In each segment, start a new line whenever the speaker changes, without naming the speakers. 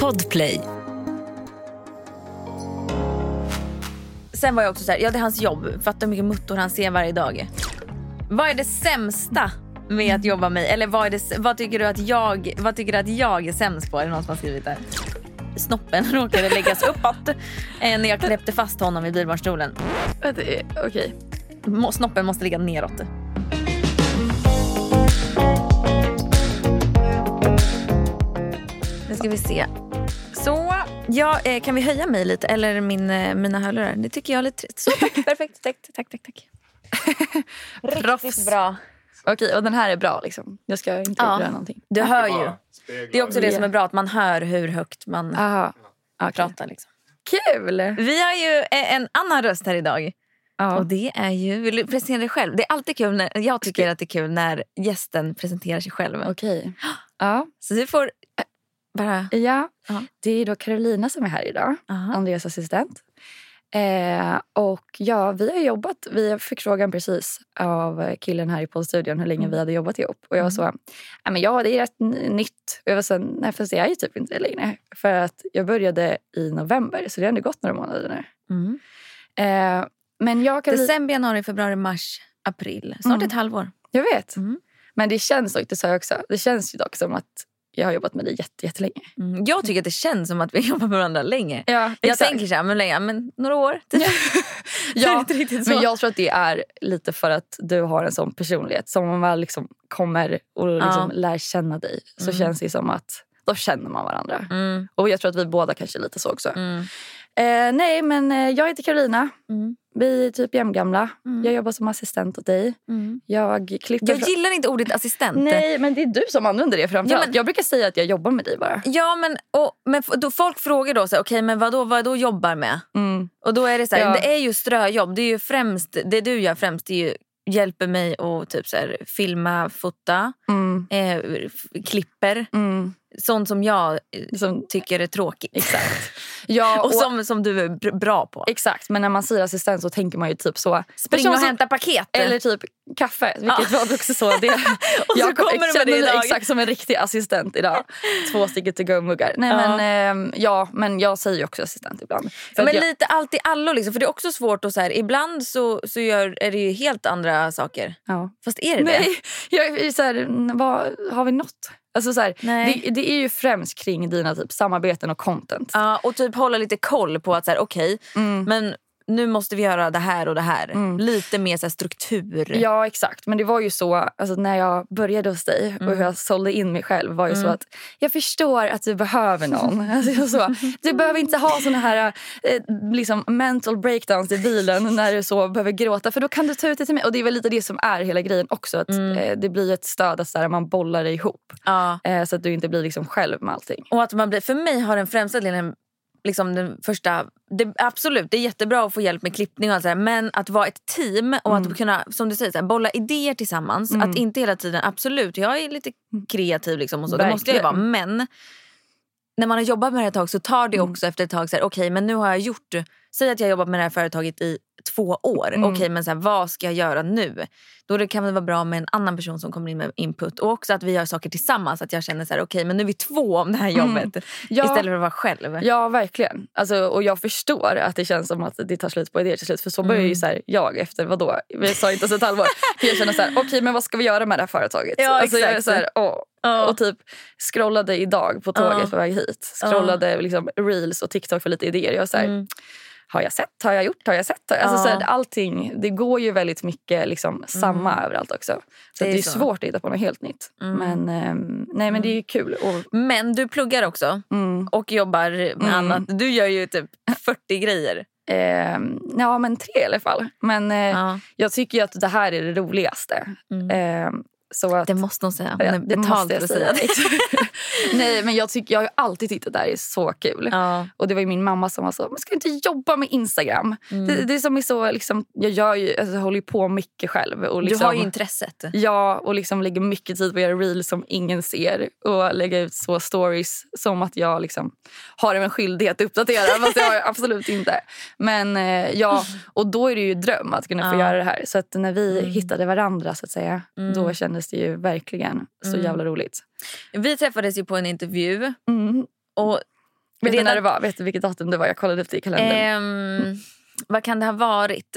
Podplay.
Sen var jag också så här, ja det är hans jobb. Fattar hur mycket muttor han ser varje dag. Vad är det sämsta med att jobba med Eller vad, är det, vad, tycker du att jag, vad tycker du att jag är sämst på? Är det någon som har skrivit där? Snoppen råkade läggas uppåt eh, när jag knäppte fast honom i bilbarnstolen.
Vänta, eh, Okej.
Må- Snoppen måste ligga neråt. Nu ska vi se. Så, ja, eh, kan vi höja mig lite? Eller min, eh, mina hörlurar? Det tycker jag är lite trist. Så, tack, perfekt. Tack, tack, tack. tack.
Proffs.
Riktigt bra.
Okej, och den här är bra liksom. Jag ska inte
Ja.
göra någonting.
Du hör ju.
Speglar.
Det är också det som är bra, att man hör hur högt man
Aha. Okay.
pratar. Liksom.
Kul!
Vi har ju eh, en annan röst här idag. Och
Ja.
det är ju, vill du presentera dig själv? Det är alltid kul, när, jag tycker att det är kul när gästen presenterar sig själv.
Okej. Ja.
Så du får eh, bara...
ja.
Ja.
Det är då Carolina som är här idag.
Aha.
Andreas assistent. Eh, och ja, vi har jobbat. Vi fick frågan precis av killen här i poddstudion hur länge
Mm.
vi hade jobbat ihop. Och jag var så, "Nej, men ja det är rätt n- nytt. Och jag var så, nej fast det är ju typ inte det längre. För att jag började i november så det har ändå gått några månader nu.
Mm.
Eh, men jag kan...
December, januari, februari, mars, april. Snart
Mm.
ett halvår.
Jag vet.
Mm.
Men det känns dock, det sa jag också, det känns ju dock som att jag har jobbat med dig jätte, jättelänge.
Mm. Jag tycker att det känns som att vi jobbar med varandra länge.
Ja,
Jag tänker så här, men länge, men några år. typ. Det är
ja,
inte riktigt så.
Men jag tror att det är lite för att du har en sån personlighet. Som man väl liksom kommer och liksom lär känna dig så
Mm.
känns det som att då känner man varandra.
Mm.
Och jag tror att vi båda kanske är lite så också.
Mm.
Eh, nej, men eh, jag heter Karolina.
Mm.
Vi är typ jämngamla.
Mm.
Jag jobbar som assistent åt dig.
Mm.
Jag klipper...
Jag
fra-
gillar inte ordet assistent.
nej, men det är du som använder det framförallt.
Ja, men-
Jag brukar säga att jag jobbar med dig bara.
Ja, men, och, men f- då folk frågar då, så här, okej, men vadå, vadå jobbar med?
Mm.
Och då är det så här,
Ja.
det är ju ströjobb. Det, är ju främst, det du gör främst det är ju hjälper mig att typ så här, filma, fota,
Mm.
eh, f- klipper.
Mm. Liksom,
Sånt som jag eh,
Som,
tycker är tråkigt.
exakt. Ja,
Och som, som du är br- bra på.
Exakt, men när man säger assistent så tänker man ju typ så...
Spring
person
och
som-
hämta paket.
Eller typ kaffe, vilket var också så det.
Eh. så kommer du med
känner
det
mig
idag.
exakt som en riktig assistent idag. Två stycken to go-muggar. Nej,
Ja.
men, ehm, ja, men jag säger ju också assistent ibland. För att
men
jag,
lite allt i allo. Liksom, för det är också svårt. att så här, ibland så, så gör, är det ju helt andra saker.
ja.
Fast är det det?
Nej, jag är så här, vad, har vi något? Alltså så här,
Nej.
det, det är ju främst kring dina typ, samarbeten och content.
Ja, och typ hålla lite koll på att så här, okej,
Mm.
men nu måste vi göra det här och det här. Lite mer så här, struktur.
Ja, exakt. Men det var ju så alltså, när jag började hos dig och hur jag sålde in mig själv var ju så att jag förstår att du behöver någon. Alltså, jag så, du behöver inte ha såna här eh, liksom mental breakdowns i bilen när du så behöver gråta för då kan du ta ut det till mig. Och det är väl lite det som är hela grejen också. Att eh, Det blir ju ett stöd att så här, man bollar det ihop
Ja.
eh, så att du inte blir liksom själv med allting.
Och att man blir, för mig har den främsta delen, liksom den första, det, absolut det är jättebra att få hjälp med klippning och allt så här, men att vara ett team och att kunna, som du säger, så här, bolla idéer tillsammans. Att inte hela tiden, absolut jag är lite kreativ liksom och så, det måste jag ju vara,
Verkligen.
men när man har jobbat med det här ett tag så tar det också efter ett tag, så här, okej men nu har jag gjort, säg att jag har jobbat med det här företaget i två år, okej men så här, vad ska jag göra nu? Då det kan det vara bra med en annan person som kommer in med input och också att vi gör saker tillsammans, att jag känner så här, okej men nu är vi två om det här jobbet
Ja.
istället för att vara själv.
Ja, verkligen. Alltså, och jag förstår att det känns som att det tar slut på idéer till slut. För så
Mm.
börjar ju så här, jag efter, vadå? Vi sa inte så ett halvår. För jag känner så här, okej men vad ska vi göra med det här företaget?
Ja,
alltså, jag är
exakt.
så här, åh.
Ja.
Och typ scrollade idag på tåget
Ja. Mm.
på väg hit. Scrollade liksom reels och TikTok för lite idéer. Jag är så här, har jag sett? Har jag gjort? Har jag sett? Alltså,
Ja. Mm.
så här, allting, det går ju väldigt mycket liksom, samma överallt också.
Det
Så det
är
är, det är
så. Mm.
svårt att hitta på något helt nytt. Men, ehm, nej, men det är ju kul. Och,
Men du pluggar också
mm,
och jobbar med annat. Du gör ju typ 40 grejer.
ehm, ja, men tre i alla fall. Men, eh,
Ja. Mm.
Jag tycker ju att det här är det roligaste. Eh, så att,
Det måste hon säga. Hon
Ja,
är betald för att säga det.
Nej, men jag, tycker, jag har ju alltid tyckt att det här är så kul.
Ja.
Och det var ju min mamma som var så, men ska du inte jobba med Instagram?
Mm.
Det, det som är så, liksom, jag, gör ju, alltså, jag håller ju på mycket själv. Och liksom,
Du har ju intresset.
Ja, och liksom lägger mycket tid på att göra reels som ingen ser. Och lägga ut så stories som att jag liksom har en skyldighet att uppdatera. fast det har jag absolut inte. Men eh, ja, och då är det ju dröm att kunna få
Ja. Mm.
göra det här. Så att när vi hittade varandra så att säga, då kändes kändes det ju verkligen så
Mm.
jävla roligt.
Vi träffades ju på en intervju.
Mm.
Och
Vet du
redan-
när det var? Vet du vilket datum det var? Jag kollade upp det i kalendern.
Ehm, vad kan det ha varit?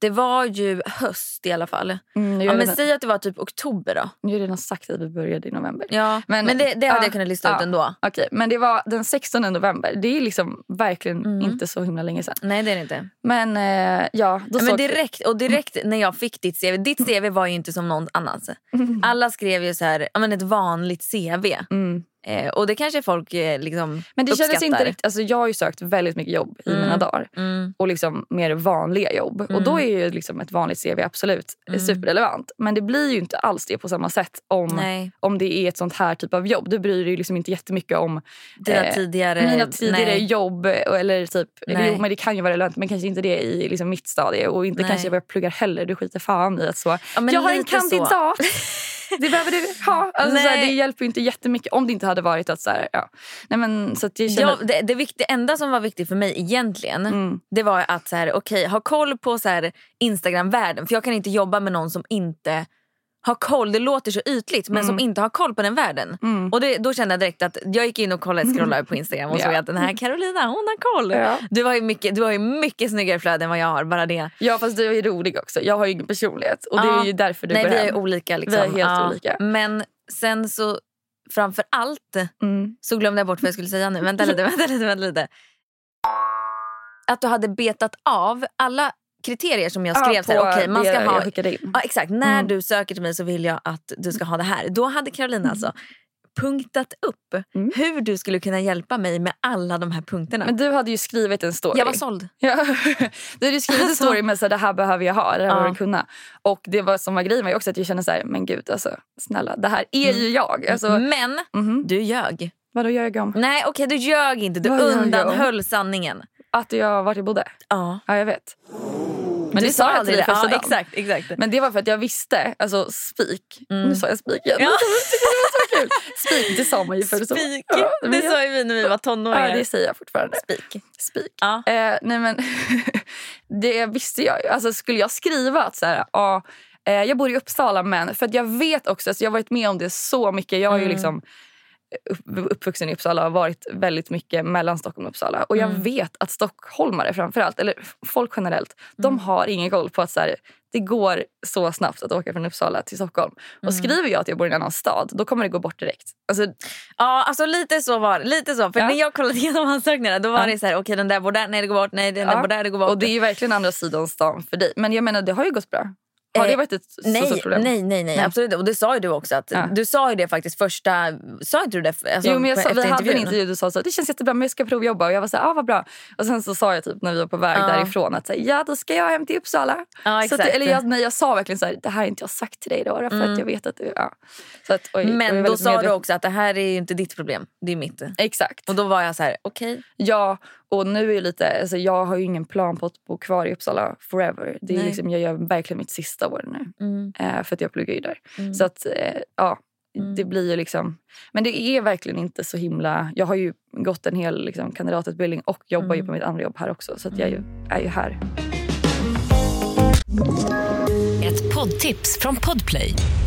Det var ju höst i alla fall.
Mm, jag,
Ja,
har
men
redan,
säg att det var typ oktober då.
jag har redan sagt att vi började i november.
Ja, men,
Men-
det, det hade
ja,
jag kunnat lista ut
ja.
ändå.
Okej, men det var den 16 november. Det är liksom verkligen
Mm.
inte så himla länge sedan.
Nej det är det inte.
Men eh, ja, då
Men
såg
direkt, och direkt när jag fick ditt CV. Ditt CV var ju inte som någon annans. Alla skrev ju så här, ja, men ett vanligt CV.
Mm.
Eh, och det kanske folk eh, liksom
Men det kändes
uppskattar.
inte riktigt. Alltså jag har ju sökt väldigt mycket jobb i
Mm.
mina dagar.
Mm.
Och liksom mer vanliga jobb.
Mm.
Och då är ju liksom ett vanligt CV absolut
Mm.
superrelevant. Men det blir ju inte alls det på samma sätt om,
Nej,
om det är ett sånt här typ av jobb. Du bryr dig ju liksom inte jättemycket om
dina
Eh,
tidigare...
mina tidigare
nej.
jobb. och- Eller typ,
Nej.
jo, men det kan ju vara relevant men kanske inte det i liksom mitt stadie. Och inte
Nej.
kanske vad jag pluggar heller. Du skiter fan i att så.
Ja, men
jag har en
lite så.
kandidat! Det behöver du ha. Alltså, så här,
Nej.
det hjälper ju inte jättemycket om det inte hade varit att... Så här, ja. Nej, men, så att jag känner,
Ja, det, det, vikt, det enda som var viktigt för mig egentligen
Mm.
det var att så här, okej, ha koll på så här, Instagram-världen. För jag kan inte jobba med någon som inte har koll. Det låter så ytligt men som inte har koll på den världen.
Mm.
Och det, då kände jag direkt att jag gick in och kollade, scrollade på Instagram och
Ja.
såg att den här Carolina hon har koll.
Ja.
Du, har ju mycket, du har ju mycket snyggare flöde än vad jag har. Bara det.
ja, fast du är ju rolig också. Jag har ju ingen personlighet. Och det
Ja.
är ju därför du
Nej
går
vi
hem.
är olika. Liksom.
Vi är helt
Ja.
olika.
Men sen så framför allt
Mm.
så glömde jag bort vad jag skulle säga nu. Vänta lite, vänta lite, vänta lite. Att du hade betat av alla kriterier som jag skrev.
Ja,
så här,
Ah, på
okej, man ska
det
ha
jag skickade in.
Ja, exakt. När
Mm.
du söker till mig så vill jag att du ska ha det här. Då hade Carolina alltså punktat upp
Mm.
hur du skulle kunna hjälpa mig med alla de här punkterna.
Men du hade ju skrivit en story.
jag var såld.
Ja. Du hade ju skrivit en story med så här, det här behöver jag ha, det här
Ja.
behöver jag kunna. Och det var som var grejen var ju också att jag kände så här, men gud alltså snälla, det här är ju jag. Alltså,
Men
mhm.
du ljög.
Vadå gör jag om?
Nej, okej, du ljög inte. Du
Vad ljög jag om?
undanhöll sanningen.
Att jag, vart jag bodde?
Ja.
Ja, jag vet. Men
du
det sa jag till dig
det.
första
ja,
dagen.
exakt, exakt.
Men det var för att jag visste, alltså spik. Nu sa jag spik igen.
Ja.
Spik, det sa man ju förr. så.
Spik.
Ja, men
det
jag-
sa ju vi när vi var
Ja,
tonåringar.
det säger jag fortfarande.
Spik.
Spik.
Ja.
Eh, nej men, det visste jag ju. Alltså, skulle jag skriva att så här, ja, eh, jag bor i Uppsala men... För att jag vet också, alltså, jag har varit med om det så mycket. Jag är ju liksom upp, uppvuxen i Uppsala och har varit väldigt mycket mellan Stockholm och Uppsala. Och jag vet att stockholmare framförallt, eller folk generellt, de har ingen koll på att så här, det går så snabbt att åka från Uppsala till Stockholm. Och skriver jag att jag bor i en annan stad, då kommer det gå bort direkt. Alltså,
Ja, alltså lite så var det. Lite så. För
Ja.
när jag kollade igenom ansökningarna då var
Ja.
det så här, okej den där bor där, nej det går bort, nej den där
Ja.
bor där, det går bort.
Och det är ju verkligen andra sidan stan för dig. Men jag menar, det har ju gått bra. Har
Eh,
det varit ett så
Nej,
stort problem?
nej, nej, nej,
Nej.
absolut inte. Och det sa ju du också. Att,
Ja.
Du sa ju det faktiskt första... Sa inte du det? f- Alltså,
Jo, men jag
på-
sa,
efter
vi hade en
intervjun?
intervju och du sa så, det känns jättebra men jag ska provjobba. Och jag var så här, ah, vad bra. Och sen så sa jag typ när vi var på väg
Ja.
därifrån att så här, ja då ska jag hem till Uppsala.
Ja,
så att,
exakt. Mm.
eller jag, nej, jag sa verkligen så här, det här har inte jag sagt till dig då. För att jag vet att du... Ja. Så att, oj, jag är
Men då
väldigt
sa
medveten-
du också att det här är ju inte ditt problem, det är mitt.
Exakt.
Och då var jag så här, okej.
Ja, och nu är ju lite, alltså, jag har ju ingen plan på att bo kvar i Uppsala forever. Det är
Nej.
liksom, jag gör verkligen mitt sista år nu.
Mm.
Eh, för att jag pluggar ju där.
Mm.
Så att, eh, ja,
Mm.
det blir ju liksom... Men det är verkligen inte så himla... Jag har ju gått en hel liksom, kandidatutbildning och jobbar
Mm.
ju på mitt andra jobb här också. Så att jag är ju, är ju här.
Ett poddtips från Podplay.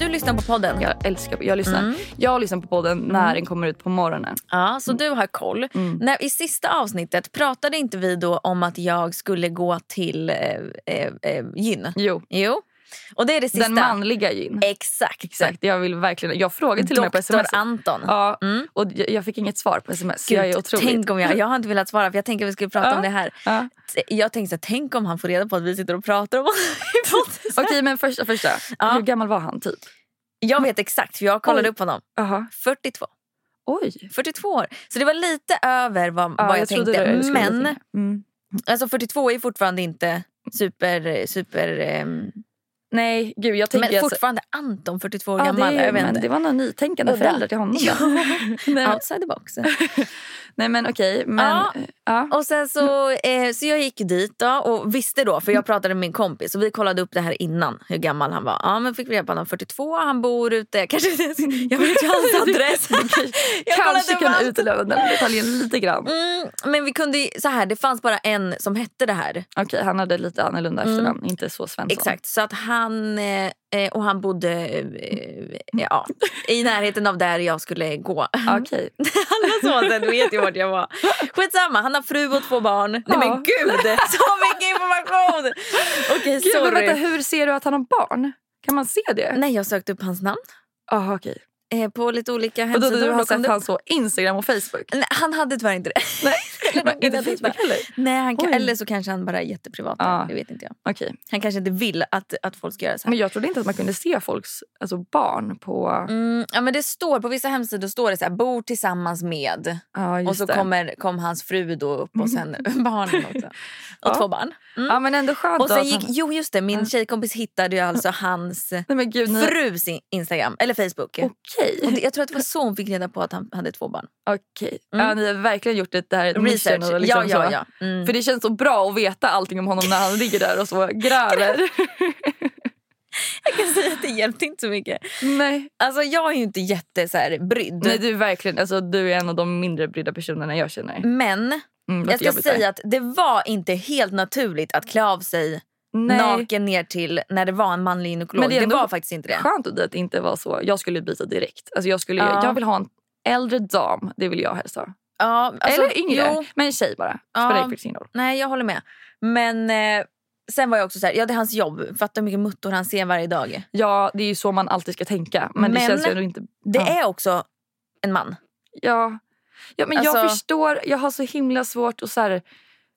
Du lyssnar på podden. Ja.
Jag älskar... Jag lyssnar,
Mm.
jag lyssnar på podden när den kommer ut på morgonen.
så du har koll.
Mm.
När, I sista avsnittet pratade inte vi då om att jag skulle gå till eh, eh, eh, gyn?
Jo,
Jo. Och det är det sista.
den manliga gin.
Exakt.
Exakt, jag vill verkligen... Jag frågade till och med på
Doktor
sms.
Anton.
Ja, och jag jag fick inget svar på sms. jag är otroligt...
tänk om jag, jag har inte velat svara för jag tänker att vi skulle prata
Ja.
om det här.
Ja.
T- Jag tänkte så här, tänk om han får reda på att vi sitter och pratar om honom.
Okej, men första, första.
Ja.
Hur gammal var han typ?
Jag vet exakt för jag kollade
Oj.
upp honom.
Aha.
42.
Oj.
42 år. Så det var lite över vad,
Ja,
vad jag,
trodde
tänkte.
det skulle vara
Men
lite mer. Mm.
alltså 42 är fortfarande inte super... super ehm,
Nej, gud jag tänker...
Men
alltså-
fortfarande Anton, 42 år
Ja,
gammal.
det,
jag vet
men
inte.
det var några nytänkande
Udda.
föräldrar till honom.
Ja.
då. Nej, men-
Outside the box.
Nej men okej. Men,
Ja.
ja.
Och sen så, eh, så jag gick dit då och visste då, för jag pratade med min kompis och vi kollade upp det här innan hur gammal han var. Ja men fick reda på att han var 42, han bor ute, kanske jag vet ju hans adress. jag
Kanske
kollade upp
kunde
allt.
utelämna den detaljen lite grann.
Mm, men vi kunde ju, så här, det fanns bara en som hette det här.
Okej, han hade lite annorlunda efternamn. Inte så Svensson.
Mm. Exakt, så att han eh, eh, och han bodde eh, ja, i närheten av där jag skulle gå.
Mm. Okej.
Alla sonen vet ju vart jag var. Skitsamma, han har fru och två barn. Nej
Ja.
men gud, så mycket information! Okej,
Gud, men
sorry. Mm.
vänta, hur ser du att han har barn? Kan man se det?
Nej, jag sökte upp hans namn
Jaha okej.
eh, på lite olika
Och då,
hemsidor.
du har
Då kom
sett
det-
hans så Instagram och Facebook?
Nej, han hade tyvärr inte det.
Nej,
Eller de ville
inte
att vi
Facebook
bara-
heller?
Nej, han kan,
Oj.
eller så kanske han bara är jätteprivat.
Ja.
Det vet inte jag.
Okej.
Han kanske inte vill att, att folk ska göra så här.
Men jag trodde inte att man kunde se folks alltså barn på...
Mm, ja, men det står, på vissa hemsidor står det så här, bor tillsammans med.
Ja, just
och så
det.
kommer, kom hans fru då upp och sen barnen också. Och
Ja.
två barn. Mm.
Ja men ändå skönt
Och
då
sen
att
gick,
han...
jo just det, min tjejkompis hittade ju alltså hans
Nej men gud, ni...
frus in- Instagram, eller Facebook.
Okej.
Och det, jag tror att det var så hon fick reda på att han hade två barn.
Okej.
Mm.
Ja, ni har verkligen gjort det där
Research.
mission och liksom
ja, ja,
så.
ja. Mm.
För det känns så bra att veta allting om honom när han ligger där och så gräver.
Jag kan säga att det hjälpte inte så mycket.
Nej.
Alltså jag är ju inte jätte så här, brydd.
Nej, du är verkligen, alltså, du är en av de mindre brydda personerna jag känner. Mm,
Men
låter
jag ska
jobbigt där.
säga att det var inte helt naturligt att klä av sig
Nej.
naken ner till när det var en manlig gynekolog.
Men det
Det,
är ändå-
var faktiskt inte det.
Skönt att det inte var så. Jag skulle byta direkt. Alltså, jag, skulle,
Ja.
jag vill ha en äldre dam, det vill jag helst ha.
Ja, alltså,
Eller yngre,
Jo,
men en tjej bara.
Ja.
Spelar faktiskt ingen roll.
nej, jag håller med. Men eh, sen var jag också så här, ja det är hans jobb. Fattar hur mycket muttor han ser varje dag.
Ja, det är ju så man alltid ska tänka. Men, det
Men-
känns ju ändå inte...
Det
Ja.
är också en man.
Ja. Ja, men jag
Alltså-
förstår. Jag har så himla svårt att så här,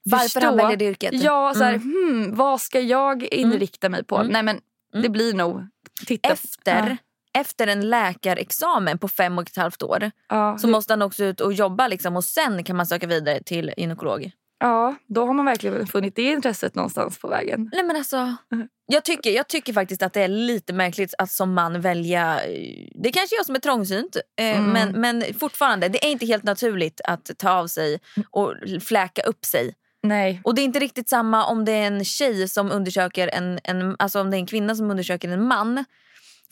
Varför
förstå.
han väljer det yrket.
Ja, så här, hmm, vad ska jag inrikta mig på?
Mm.
Nej, men
Mm.
det blir nog... Titta.
Efter, efter en läkarexamen på fem och ett halvt år
Ja.
så måste han också ut och jobba liksom, och sen kan man söka vidare till gynekolog.
ja, då har man verkligen funnit det intresset någonstans på vägen.
Nej men alltså,
Mm.
jag tycker, jag tycker faktiskt att det är lite märkligt att som man välja... eh, Det kanske är jag som är trångsynt eh,
Mm.
men, men fortfarande, det är inte helt naturligt att ta av sig och fläka upp sig.
Nej.
Och det är inte riktigt samma om det är en tjej som undersöker en, en alltså om det är en kvinna som undersöker en man.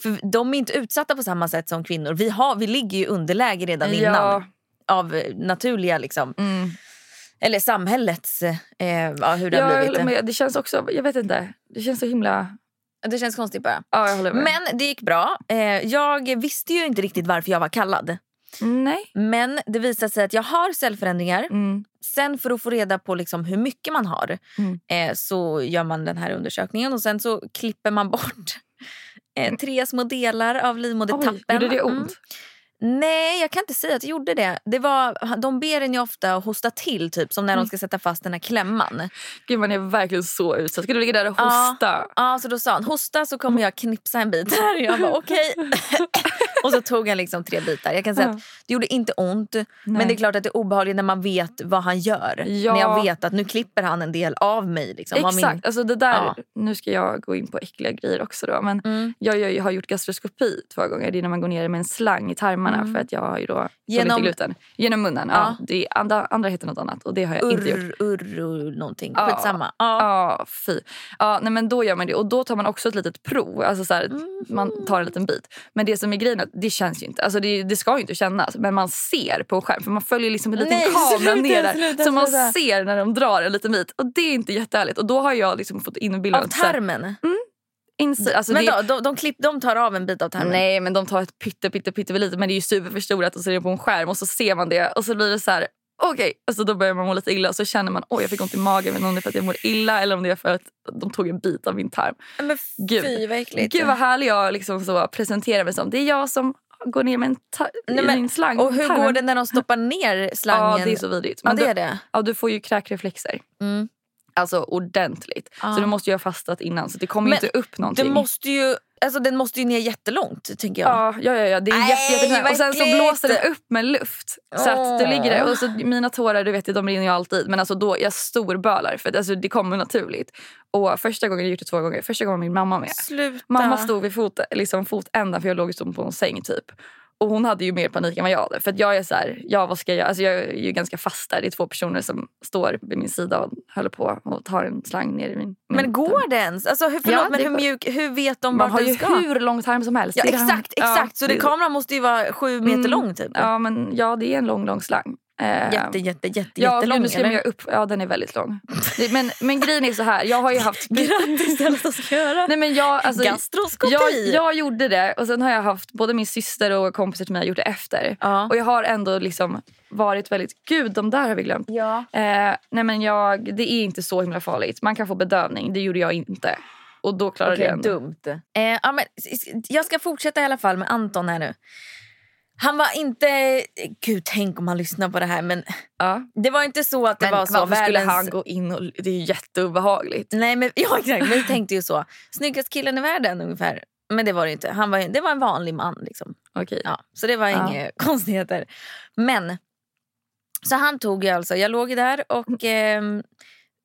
För de är inte utsatta på samma sätt som kvinnor. Vi, har, vi ligger ju i underläge redan innan
Ja.
av eh, naturliga liksom,
Mm.
eller samhällets, eh, ja, hur det
Jag
har
håller
blivit.
med. Det känns också... Jag vet inte. Det känns så himla...
Det känns konstigt bara.
Ja, jag håller med.
Men det gick bra. Eh, jag visste ju inte riktigt varför jag var kallad.
Nej.
Men det visade sig att jag har cellförändringar.
Mm.
Sen för att få reda på liksom hur mycket man har
Mm.
eh, så gör man den här undersökningen och sen så klipper man bort eh, tre små delar av livmodertappen.
Oj, gjorde det ont?
Mm. Nej, jag kan inte säga att det gjorde det. det var, de ber en ju ofta att hosta till, typ som när de ska sätta fast den här klämman.
Gud, man är verkligen så utsatt. Ska du ligga där och
Ja.
hosta?
Ja, så då sa han hosta så kommer jag knipsa en bit här. Jag bara okej. och så tog han liksom tre bitar. Jag kan säga
Ja.
att det gjorde inte ont. Men det är klart att det är obehagligt när man vet vad han gör.
Ja.
När jag vet att nu klipper han en del av mig. Liksom, Av min...
Exakt. Alltså det där,
Ja.
Nu ska jag gå in på äckliga grejer också. Då, men
Mm.
jag, gör ju- har gjort gastroskopi två gånger. Det är när man går ner med en slang i tarmarna. För att jag har ju då
Mm. Genom-
genom, gluten. Genom munnen. Ja. Det är, andra, andra heter något annat och det har jag inte gjort.
Urr, urr, urr, någonting.
Ja.
Skitsamma. Ja.
Ja, fy. Ja, nej, men då gör man det. Och då tar man också ett litet prov. Alltså så här,
Mm.
Man tar en liten bit. Men det som är grejen är att det känns ju inte. Alltså det, det ska ju inte kännas. Men man ser på en skärm. För man följer liksom en liten
Nej,
kamera
sluta,
ner där.
sluta,
så man
sluta.
ser när de drar en liten bit. Och det är inte jättehärligt. Och då har jag liksom fått in bilden.
Av
att så här,
tarmen?
insi- alltså
men
det,
då, de, de, klipp, de tar av en bit av tarmen?
Nej, men de tar ett pytte, pytte, pytte lite. Men det är ju superförstorat och så är det på en skärm och så ser man det och så blir det så här. Okej, alltså då börjar man må lite illa och så känner man oj jag fick ont i magen men om det är för att jag mår illa eller om det är för att de tog en bit av min tarm.
Men
Gud.
fy vad äckligt.
Gud vad härlig jag liksom så presenterar mig som. Det är jag som går ner med en, ta-
Nej,
i
men-
en slang.
Och hur
tarmen.
går det när de stoppar ner slangen?
Ja, det är så vidrigt.
Ja,
Men
det är
du,
det.
ja, du får ju kräkreflexer.
Mm.
Alltså ordentligt.
Ja.
Så du måste ju ha fastat innan så det kommer
Men
ju inte upp någonting.
Det måste ju... Alltså den måste ju ner jättelångt tänker jag.
Ja, ja, ja, ja. det är
Nej,
jätte, jättenära.
vad
Och sen så
äckligt!
blåser det upp med luft. Så att du
Åh.
ligger där. Och så mina tårar, du vet ju, de rinner ju alltid. Men alltså då, jag storbölar för att, alltså, det kommer naturligt. Och första gången, jag har gjort det två gånger, första gången var min mamma med.
Sluta.
Mamma stod vid fot, liksom fotändan för jag låg som på en säng typ. Och hon hade ju mer panik än vad jag hade. För att jag är så här, ja vad ska jag göra? Alltså jag är ju ganska fast där. Det är två personer som står vid min sida och håller på och tar en slang ner i min...
Men
min-
går det ens? Alltså, hur, förlåt,
Ja,
men
det
hur
går.
mjuk, hur vet de
Man
vart
har
den
ju
ska?
hur lång tarm som helst.
Ja,
Det är det här-
exakt, exakt. så det,
det-
kameran måste ju vara sju meter
Mm.
lång typ.
Ja, men ja, det är en lång, lång slang. Eh,
Jätte, jätte, jätte,
ja,
jättelång.
nu skrämmer jag upp. Ja, den är väldigt lång. Det- Men, men grejen är så här, jag har ju haft...
Grattis till allt du ska göra.
Nej, men jag, alltså,
Gastroskopi.
jag, jag gjorde det och sen har jag haft både min syster och kompisar till mig har gjort det efter.
Ja.
Och jag har ändå liksom varit väldigt... Gud, de där har vi glömt.
ja.
Eh, nej, men jag, det är inte så himla farligt. Man kan få bedövning. Det gjorde jag inte. Och då klarade
Okej,
jag ändå.
dumt. Eh, ja, men, s- s- jag ska fortsätta i alla fall med Anton här nu. Han var inte... Gud, tänk om han lyssnar på det här. Men
Ja.
det var inte så att det
Men
var så.
varför skulle
världens-
han gå in och... Det är ju jätteobehagligt.
Nej, men, ja, exakt. Vi tänkte ju så. Snyggast killen i världen ungefär. Men det var det inte. Han var, ju- det var en vanlig man. Liksom.
Mm. Okej.
Ja, så det var
Ja.
inga konstigheter. Men, så han tog ju alltså, jag låg ju där och... ehm,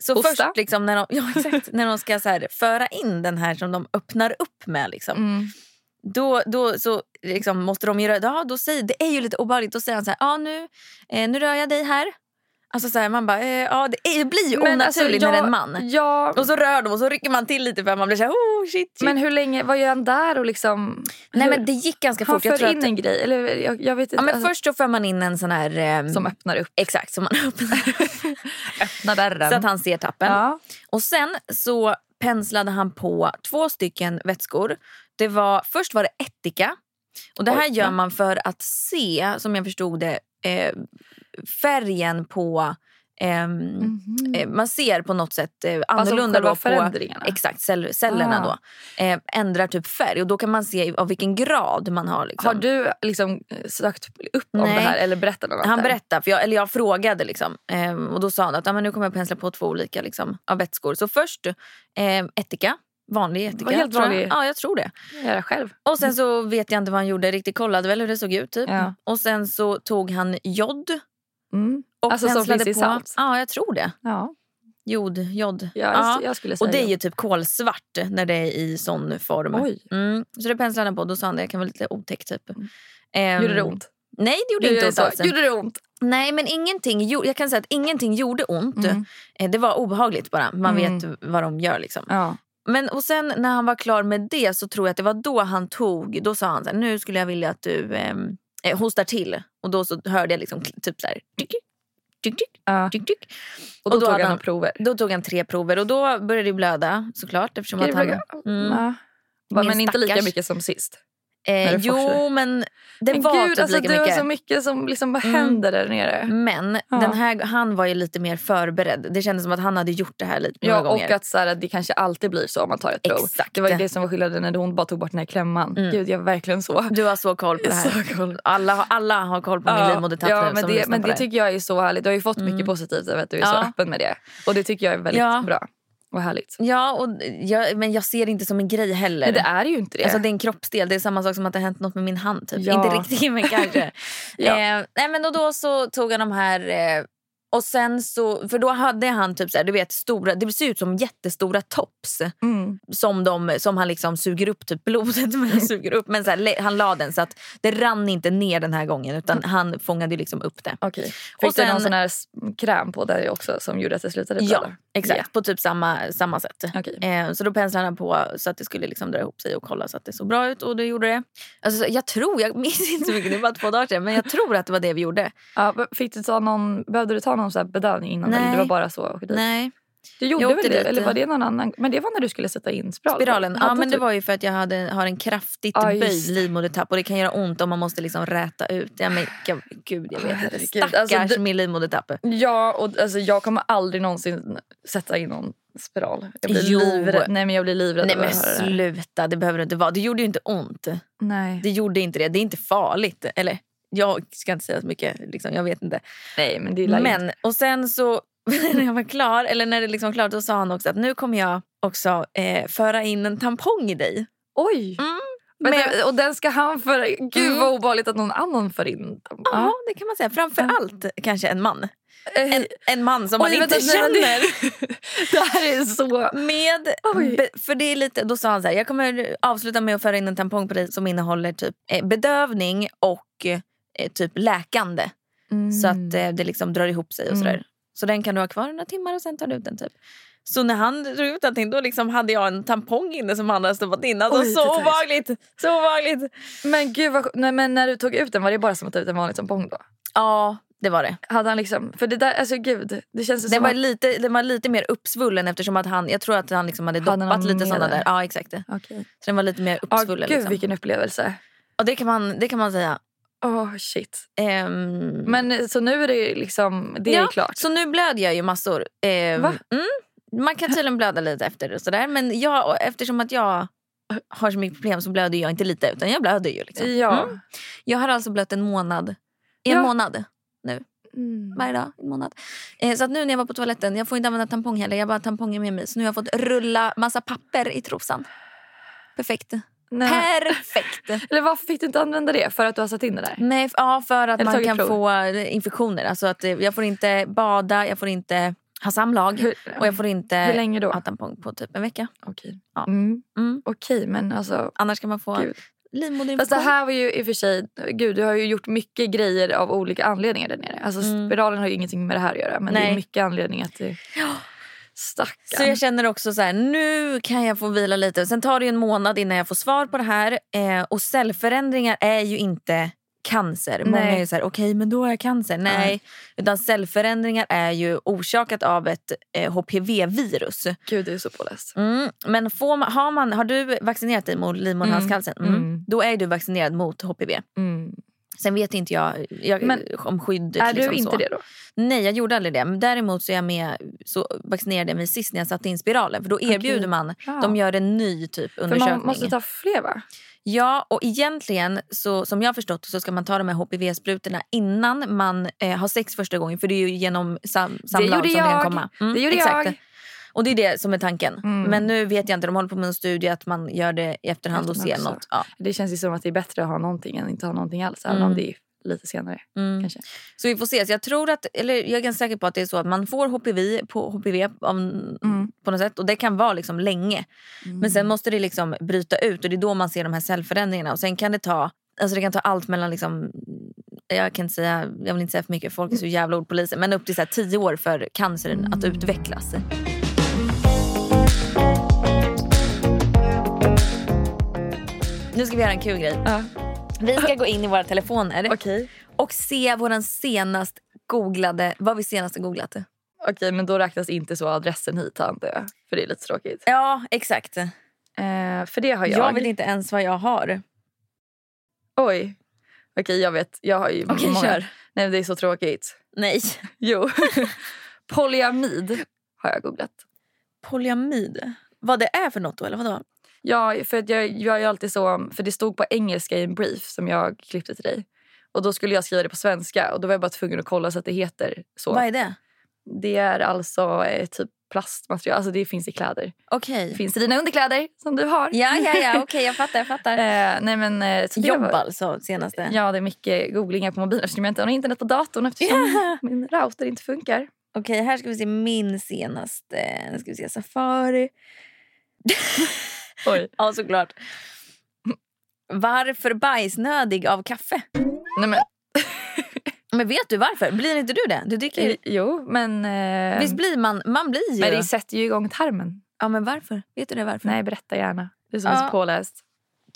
så
Mm. Hosta.
först liksom när de, ja, exakt, när de ska så här, föra in den här som de öppnar upp med. Liksom,
Mm.
då, då så liksom måste de ju röra... Ja, då säger, det är ju lite obehagligt. Då säger han så här, ja nu, eh, nu rör jag dig här. Alltså så här, man bara, eh, ja det, är, det blir ju
Men
onaturligt
alltså,
när det är
jag-
en man.
Ja, typ-
Och så rör de och så rycker man till lite för att man blir så här, oh shit, shit.
men hur länge, vad gör han där och liksom...
Nej
hur,
men det gick ganska
han
fort. Jag
för
tror
in
att,
en grej, eller jag, jag vet inte.
ja, men
alltså,
först så för man in en sån här... ehm,
som öppnar upp,
Exakt, som man öppnar.
öppnar dörren.
så att han ser tappen.
ja.
Och sen så penslade han på två stycken vätskor. Det var, först var det ättika. Och det här
Oj,
gör
ja.
man för att se, som jag förstod det, eh, färgen på... ehm, eh, Man ser på något sätt eh,
Mm. Alltså
annorlunda
Mm-hmm. själva
då på
förändringarna.
Exakt, cell, cellerna
Ah.
då. Eh, ändrar typ färg och då kan man se av vilken grad man har. Liksom.
Har du liksom eh, sökt upp om
Nej.
det här eller berättat något?
han
där?
berättade, för jag, eller jag frågade liksom, eh, och då sa han att ah, men nu kommer jag pensla på två olika liksom, av vätskor. Så först eh, ättika, vanlig ättika.
Var helt
tror jag.
vanlig.
Ja, jag tror det.
Jag gör det själv.
Och sen så vet jag inte vad han gjorde, riktigt kollade väl hur det såg ut typ.
Ja.
Och sen så tog han jod
Mm.
och
Alltså som
penslade
finns i
på.
salt?
Ja, jag tror det.
Ja,
Jod, jod.
jag,
Ja.
jag skulle säga
Och det är
ja.
ju typ kolsvart när det är i sån form.
Oj,
Mm. Så det penslade han på. Då sa han det kan vara lite otäckt. Typ. Ehm,
Mm. gjorde det ont?
Nej, det gjorde inte ont
så,
alls.
gjorde det ont?
Nej, men ingenting, gjo- jag kan säga att ingenting gjorde ont.
Mm.
Eh, Det var obehagligt bara. Man
Mm.
vet vad de gör. liksom.
Ja.
Men och sen när han var klar med det så tror jag att det var då han tog... Då sa han så här, nu skulle jag vilja att du ehm, eh, hostar till. Och då så hörde jag liksom kl- typ så här... Tyck, tyck, tyck, tyck,
Ja.
tyck, tyck.
Och då,
Och då
tog
hade han-
han några prover.
Då tog han tre prover och då började det blöda såklart. Eftersom att
Ska det
han,
bli-
mm.
Ja. Va,
Min
Men inte lika
stackars-
mycket som sist.
Eh,
När det
jo,
forsade.
men det
men
var
gud,
typ
alltså,
lika
du
mycket.
har så mycket som liksom, vad
Mm.
händer där nere?
Men
Ja.
den här, han var ju lite mer förberedd. Det kändes som att han hade gjort det här lite några
Ja,
gånger.
och att så här, det kanske alltid blir så om man tar ett prov.
Exakt.
Det var ju det som var skillnaden när hon bara tog bort den här klämman.
Mm.
Gud, jag var verkligen så.
Du har så koll på det här.
Så cool.
Alla, har- alla har koll på min livmodertapp
ja,
nu
men,
som
det,
lyssnar
men
på
det
här. Mm.
tycker jag är så härligt. Du har ju fått mycket positivt av att du är så
Ja.
öppen med det. Och det tycker jag är väldigt
Ja.
bra och härligt.
Ja, och jag, men jag ser det inte som en grej heller.
Men det är ju inte det.
Alltså det är en kroppsdel. Det är samma sak som att det har hänt något med min hand. Typ.
Ja.
Inte riktigt men kanske.
Ja.
eh, nej, men och då så tog han de här eh, och sen så, för då hade han typ så här, du vet, stora, det ser ut som jättestora tops
mm.
som, de, som han liksom suger upp typ blodet med. suger upp, men så här, le- han la den så att det rann inte ner den här gången utan
Mm.
han fångade ju liksom upp det.
Okej.
Och
Fick du
sen-
någon sån här s- kräm på där också som gjorde att det slutade
Ja,
blöda?
Exakt, på typ samma, samma sätt.
Ja. Okej.
Eh, så då penslade han på så att det skulle liksom dra ihop sig och kolla så att det såg bra ut. Och det gjorde det. Alltså, jag tror, jag minns inte så mycket, det var bara två dagar sedan. Men jag tror att det var det vi gjorde.
Ja, men fick du ta någon, behövde du ta någon sån här bedövning innan?
Nej.
Eller det var bara så? och dit?
Nej,
Du gjorde
Jag
väl
åkte
det?
dit,
Eller var
ja.
det någon annan? Men det var när du skulle sätta in spiralen?
spiralen. Ja,
Hade
men det
du-
var ju för att jag hade, har en kraftigt
typ Ja, just
böjd livmodertapp. Och det kan göra ont om man måste liksom räta ut. Ja, men, jag, gud, jag vet inte.
Herregud,
Stackars
alltså, det-
min livmodertapp.
Ja, och alltså, jag kommer aldrig någonsin sätta in någon spiral. Jag blir
Jo.
livrädd. Nej, men jag blir livrädd
Nej
av
men
att höra det här.
sluta, det behöver det inte vara. Det gjorde ju inte ont.
Nej.
Det gjorde inte det. Det är inte farligt. Eller, jag ska inte säga så mycket. Liksom, jag vet inte.
Nej, men det är men...
Men, och sen så när jag var klar, eller när det liksom var klart, då sa han också att nu kommer jag också eh, föra in en tampong i dig.
Oj!
Men-
Vänta, Mm. och den ska han föra Gud
Mm.
vad obehagligt att någon annan för in dem.
Ja,
Ja.
det kan man säga. Framför allt kanske en man.
Eh,
En, en man som
oj,
man inte
vänta, nej,
känner.
nej. Det här är så...
Med,
Oj.
be, för det är lite, då sa han så här, jag kommer avsluta med att föra in en tampong på dig som innehåller typ eh, bedövning och eh, typ läkande. Så att eh, det liksom drar ihop sig och
Mm.
sådär. Så den kan du ha kvar några timmar och sen tar du ut den typ. Så när han drog ut allting då liksom hade jag en tampong inne som han hade stoppat in. Alltså
Oj, det
så
där.
obehagligt! Så obehagligt!
Men gud vad, nej, men när du tog ut den var det bara som att ta ut en vanlig tampong då?
Ja, det var det.
Hade han liksom... För det där, alltså gud. Det känns ju
Den
som
var,
att...
lite, den var lite mer uppsvullen eftersom att han, jag tror att han liksom hade
Hade
doppat
någon
lite
med
sådana
där?
där. Ja, exakt. det.
Okej.
Så den var lite mer
Ja,
uppsvullen.
gud
liksom.
vilken upplevelse.
Ja, det kan man, det kan man säga.
Åh shit.
Ehm,
Men eh, så nu är det liksom... Det
ja,
är klart.
Så nu blöder jag ju massor. Ehm,
Va?
Mm, man kan tydligen blöda lite efter och sådär. Men jag, och eftersom att jag har så mycket problem så blöder jag inte lite utan jag blöder ju. Liksom.
Ja.
Mm. Jag har alltså blött en månad. En
Ja.
månad.
Mm.
Varje dag. En månad. Eh, så att nu när jag var på toaletten, jag får inte använda tampong heller. Jag har bara tamponger med mig. Så nu har jag fått rulla massa papper i trosan. Perfekt.
Nej.
Perfekt!
Eller varför fick du inte använda det? För att du har satt in det där?
Nej, f- ja, för att
Eller
man
tagit
kan
prov.
få eh, infektioner. Alltså att eh, jag får inte bada, jag får inte ha samlag.
Hur,
Och jag får inte
hur länge då?
ha tampong på typ en vecka.
Okej.
Ja.
Mm.
Mm.
Okej, men alltså...
Annars kan man få
Gud. Fast det
livmoderinfektion.
här var ju i och för sig... Gud, du har ju gjort mycket grejer av olika anledningar där nere. Alltså
Mm.
spiralen har ju ingenting med det här att göra. Men det
Nej.
är mycket anledningar till... Stackarn.
Så jag känner också så här, nu kan jag få vila lite. Sen tar det ju en månad innan jag får svar på det här. Eh, och cellförändringar är ju inte cancer. Många
Nej.
är ju så här, okej men då har jag cancer. Nej. Utan cellförändringar är ju orsakat av ett eh, HPV-virus.
Gud, du är så påläst.
Mm. Men får man, har, man, har du vaccinerat dig mot livmoderhalscancern? Mm.
Mm.
Då är du vaccinerad mot HPV.
Mm.
Sen vet inte jag, jag
Men
om skyddet.
Är du
liksom
inte
så.
det då?
Nej, jag gjorde aldrig det. Men däremot så, är jag med, så vaccinerade jag mig sist när jag satte in spiralen. För då erbjuder man,
Ah, Ja.
de gör en ny typ
För
undersökning.
man måste ta fler va?
Ja, och egentligen så, som jag har förstått så ska man ta de här HPV-sprutorna innan man eh, har sex första gången. För det är ju genom sam- samlag
gjorde
som det
jag.
kan komma. Mm,
Det gjorde
exakt.
jag.
Och det är det som är tanken.
Mm.
Men nu vet jag inte, de håller på med en studie att man gör det i efterhand och ser
Efterhand också.
något. Ja.
Det känns ju som att det är bättre att ha någonting än att inte ha någonting alls. Även
Mm.
om det är lite senare.
Mm.
Kanske.
Så vi får se. Så jag, tror att, eller jag är ganska säker på att det är så att man får HPV på HPV av,
Mm.
på något sätt. Och det kan vara liksom länge. Men sen måste det liksom bryta ut och det är då man ser de här cellförändringarna. Och sen kan det ta, alltså det kan ta allt mellan liksom, jag kan inte säga, jag vill inte säga för mycket, folk är så jävla ordpoliser. Men upp till så här tio år för cancern att utvecklas. Nu ska vi göra en kul grej.
Ja.
Vi ska gå in i våra telefoner
Okej.
och se vår senast googlade, vad vi senast har googlat.
Okej, men då räknas inte så adressen hit antar jag. För det är lite tråkigt.
Ja, exakt. Jag,
Eh, för det har jag.
vet inte ens vad jag har.
Oj. Okej, jag vet. Jag har ju
Okej,
många.
kör.
Nej, men det är så tråkigt.
Nej.
Jo. Polyamid har jag googlat.
Polyamid. Vad det är för något då, eller vadå?
Ja, för att jag, jag är ju alltid så... För det stod på engelska i en brief som jag klippte till dig. Och då skulle jag skriva det på svenska och då var jag bara tvungen att kolla så att det heter så.
Vad är det?
Det är alltså eh, typ plastmaterial. Alltså det finns i kläder.
Okej.
Det finns i dina underkläder som du har.
Ja, ja, ja. Okej, jag fattar. jag fattar.
Eh, nej men, eh, så det
Jobb
var-
alltså, senaste.
Ja, det är mycket googlingar på mobilen eftersom jag inte har internet på datorn eftersom min router inte funkar.
Okej, här ska vi se min senaste. Nu ska vi se Safari.
Oj.
Ja, såklart. Varför bajsnödig av kaffe?
Nej, men,
Men vet du varför? Blir inte du det? Du dricker ju...
jo, men... Eh,
Visst blir man... Man blir ju...
men det sätter ju igång tarmen.
Ja, men varför? Vet du det varför?
Nej, berätta gärna. Du som är
Ja.
så påläst.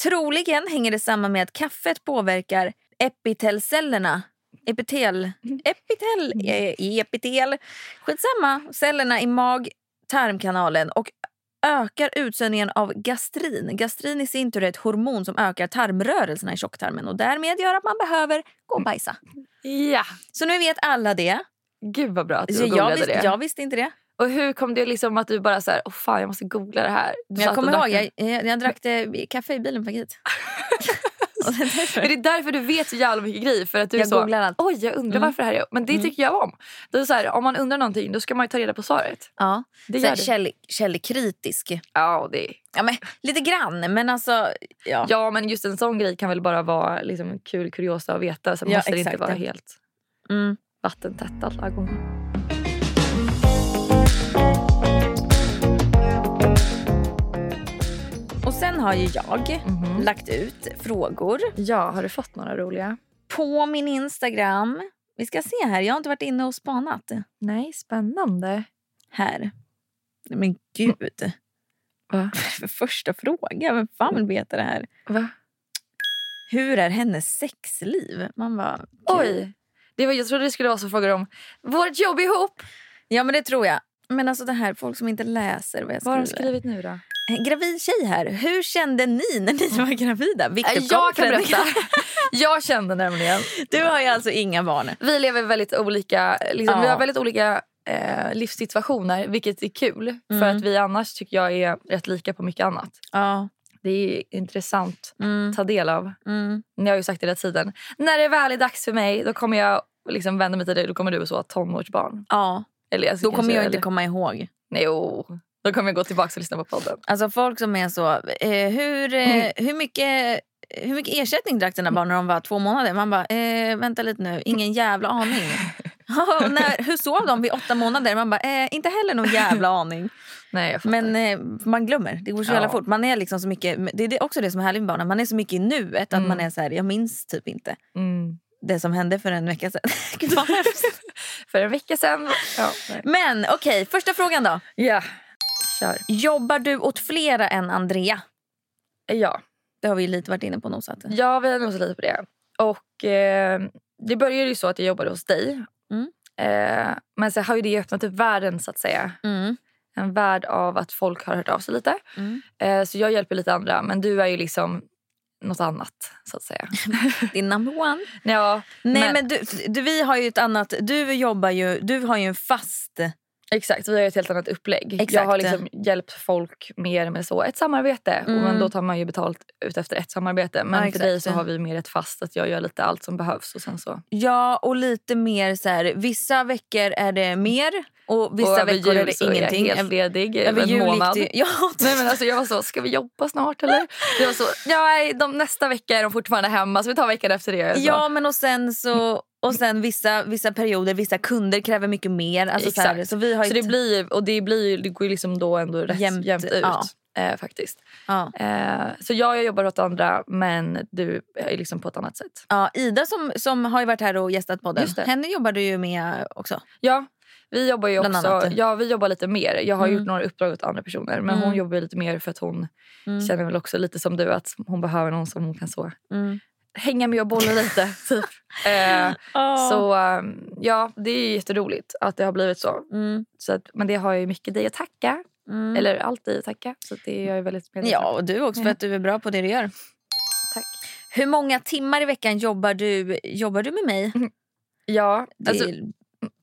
Troligen hänger det samman med att kaffet påverkar epitelcellerna. Epitel, epitel, eh, epitel. Skitsamma. Cellerna i mag-tarmkanalen och ökar utsöndringen av gastrin. Gastrin i sin tur är ett hormon som ökar tarmrörelserna i tjocktarmen och därmed gör att man behöver gå
Mm.
och bajsa.
Ja!
Så nu vet alla det.
Gud vad bra att du
Så jag,
googlade
visste,
det.
jag visste inte det.
Och hur kom det liksom att du bara så här, åh fan jag måste googla det här. Du
Men jag
satt och
kommer ihåg,
drack en-
jag, jag, jag drack eh, kaffe i bilen på väg hit.
Men det är därför du vet så jävla mycket grejer. För att du är
Jag
så,
googlar allt.
Oj, jag undrar varför det här är. Men det tycker jag om. Det är så här, om man undrar någonting då ska man ju ta reda på svaret.
Ja.
Det
Sen
gör du.
käll, källkritisk.
Ja, det är...
Ja, men, lite grann, men alltså... Ja.
ja, men just en sån grej kan väl bara vara liksom, kul kuriosa att veta. Sen
Ja,
måste det inte
exakt,
vara
ja.
helt
Mm.
vattentätt alla gånger.
Och sen har ju jag lagt ut frågor
Ja, har du fått några roliga?
på min Instagram. Vi ska se här, jag har inte varit inne och spanat.
Nej, spännande.
Här. Nej, Men gud.
Va?
För första fråga, vem fan vill veta det här?
Va?
Hur är hennes sexliv? Man bara... gud.
Oj! Det var, jag trodde det skulle vara så frågor om vårt jobb ihop.
Ja, men det tror jag. Men alltså det här, folk som inte läser vad jag
Vad har
skriver.
de skrivit nu då?
En Eh, gravid tjej här. Hur kände ni när ni var gravida? Vilket
Äh, Jag kan
konfront.
berätta. Jag kände nämligen.
Du har ju alltså inga barn.
Vi lever väldigt olika, liksom,
Ja.
vi har väldigt olika eh, livssituationer vilket är kul. För
Mm.
att vi annars tycker jag är rätt lika på mycket annat.
Ja.
Det är intressant
Mm.
att ta del av.
Mm.
Ni har ju sagt det hela tiden. När det väl är dags för mig då kommer jag liksom vända mig till dig. Då kommer du och så ha tonårsbarn.
ja.
Eller, alltså,
Då
kanske-
kommer jag inte
eller-
komma ihåg.
Nej, jo. Då kommer jag gå tillbaka och lyssna på podden.
Alltså folk som är så... Eh, hur, eh,
Mm.
hur, mycket, hur mycket ersättning drack dina barn när de var två månader? Man bara, eh, vänta lite nu. Ingen jävla aning. Ja, när, hur sov de vid åtta månader? Man bara, eh, inte heller någon jävla aning.
Nej, jag fattar.
Men eh, man glömmer. Det går så
Ja.
jävla fort. Man är liksom så mycket, det är det- också det som är härligt med barnen. Man är så mycket i nuet att
Mm.
man är så här, jag minns typ inte
Mm.
det som hände för en vecka sedan. Gud, vad hemskt.
För en vecka sedan. Ja, nej.
Men okej, första frågan då.
ja. kör.
Jobbar du åt flera än Andrea?
Ja.
Det har vi ju lite varit inne på och nosat.
Ja, vi har nosat lite på det. Och eh, det började ju så att jag jobbade hos dig.
Mm.
Eh, men sen har ju det öppnat upp världen så att säga.
Mm.
En värld av att folk har hört av sig lite.
Mm.
Eh, så jag hjälper lite andra. Men du är ju liksom något annat så att säga.
Det är number one.
ja,
Nej men,
men,
du, du, vi har ju ett annat, du jobbar ju, du har ju en fast...
exakt. Vi har ju ett helt annat upplägg. Jag
Exakt.
har liksom hjälpt folk mer med så ett samarbete. Och, men
Mm.
då tar man ju betalt ut efter ett samarbete. Men
Ja,
för
exakt.
dig så har vi mer ett fast att jag gör lite allt som behövs. Och sen så.
Ja och lite mer så här, vissa veckor är det mer och
och
vissa
över
veckor är
jul
det
så
ingenting.
Är jag helt ledig över
Över
en
jul gick
månad.
det- Ja,
Nej men alltså jag var så, ska vi jobba snart eller? Jag var så, ja, nej, de, nästa vecka är de fortfarande hemma så vi tar veckan efter det. Jag sa,
Ja, men och sen så... Och sen vissa, vissa perioder, vissa kunder kräver mycket mer. Alltså så, här,
Exakt.
så vi har ju
så det
ett-
blir ju- och det blir ju- det går ju liksom då ändå rätt jämnt,
Jämnt,
ut
ja.
eh, faktiskt.
ja.
Eh, så jag, jag jobbar åt andra men du är liksom på ett annat sätt.
Ja, Ida som, som har ju varit här och gästat podden,
Just det.
henne jobbar du ju med också.
Ja, vi jobbar ju
Bland
också,
annat.
ja vi jobbar lite mer. Jag har
Mm.
gjort några uppdrag åt andra personer men hon
Mm.
jobbar ju lite mer för att hon
Mm.
känner väl också lite som du att hon behöver någon som hon kan så
Mm.
hänga med och bolla lite typ. Eh,
Så,
Så ehm, ja, det är jätteroligt att det har blivit så.
mm,
så att, men det har ju mycket dig att tacka.
mm.
Eller allt dig att tacka. Så att det är jag ju väldigt medveten
ja, och du också för att du är bra på det du gör.
Tack.
Hur många timmar i veckan jobbar du, jobbar du med mig?
Ja,
Det,
alltså,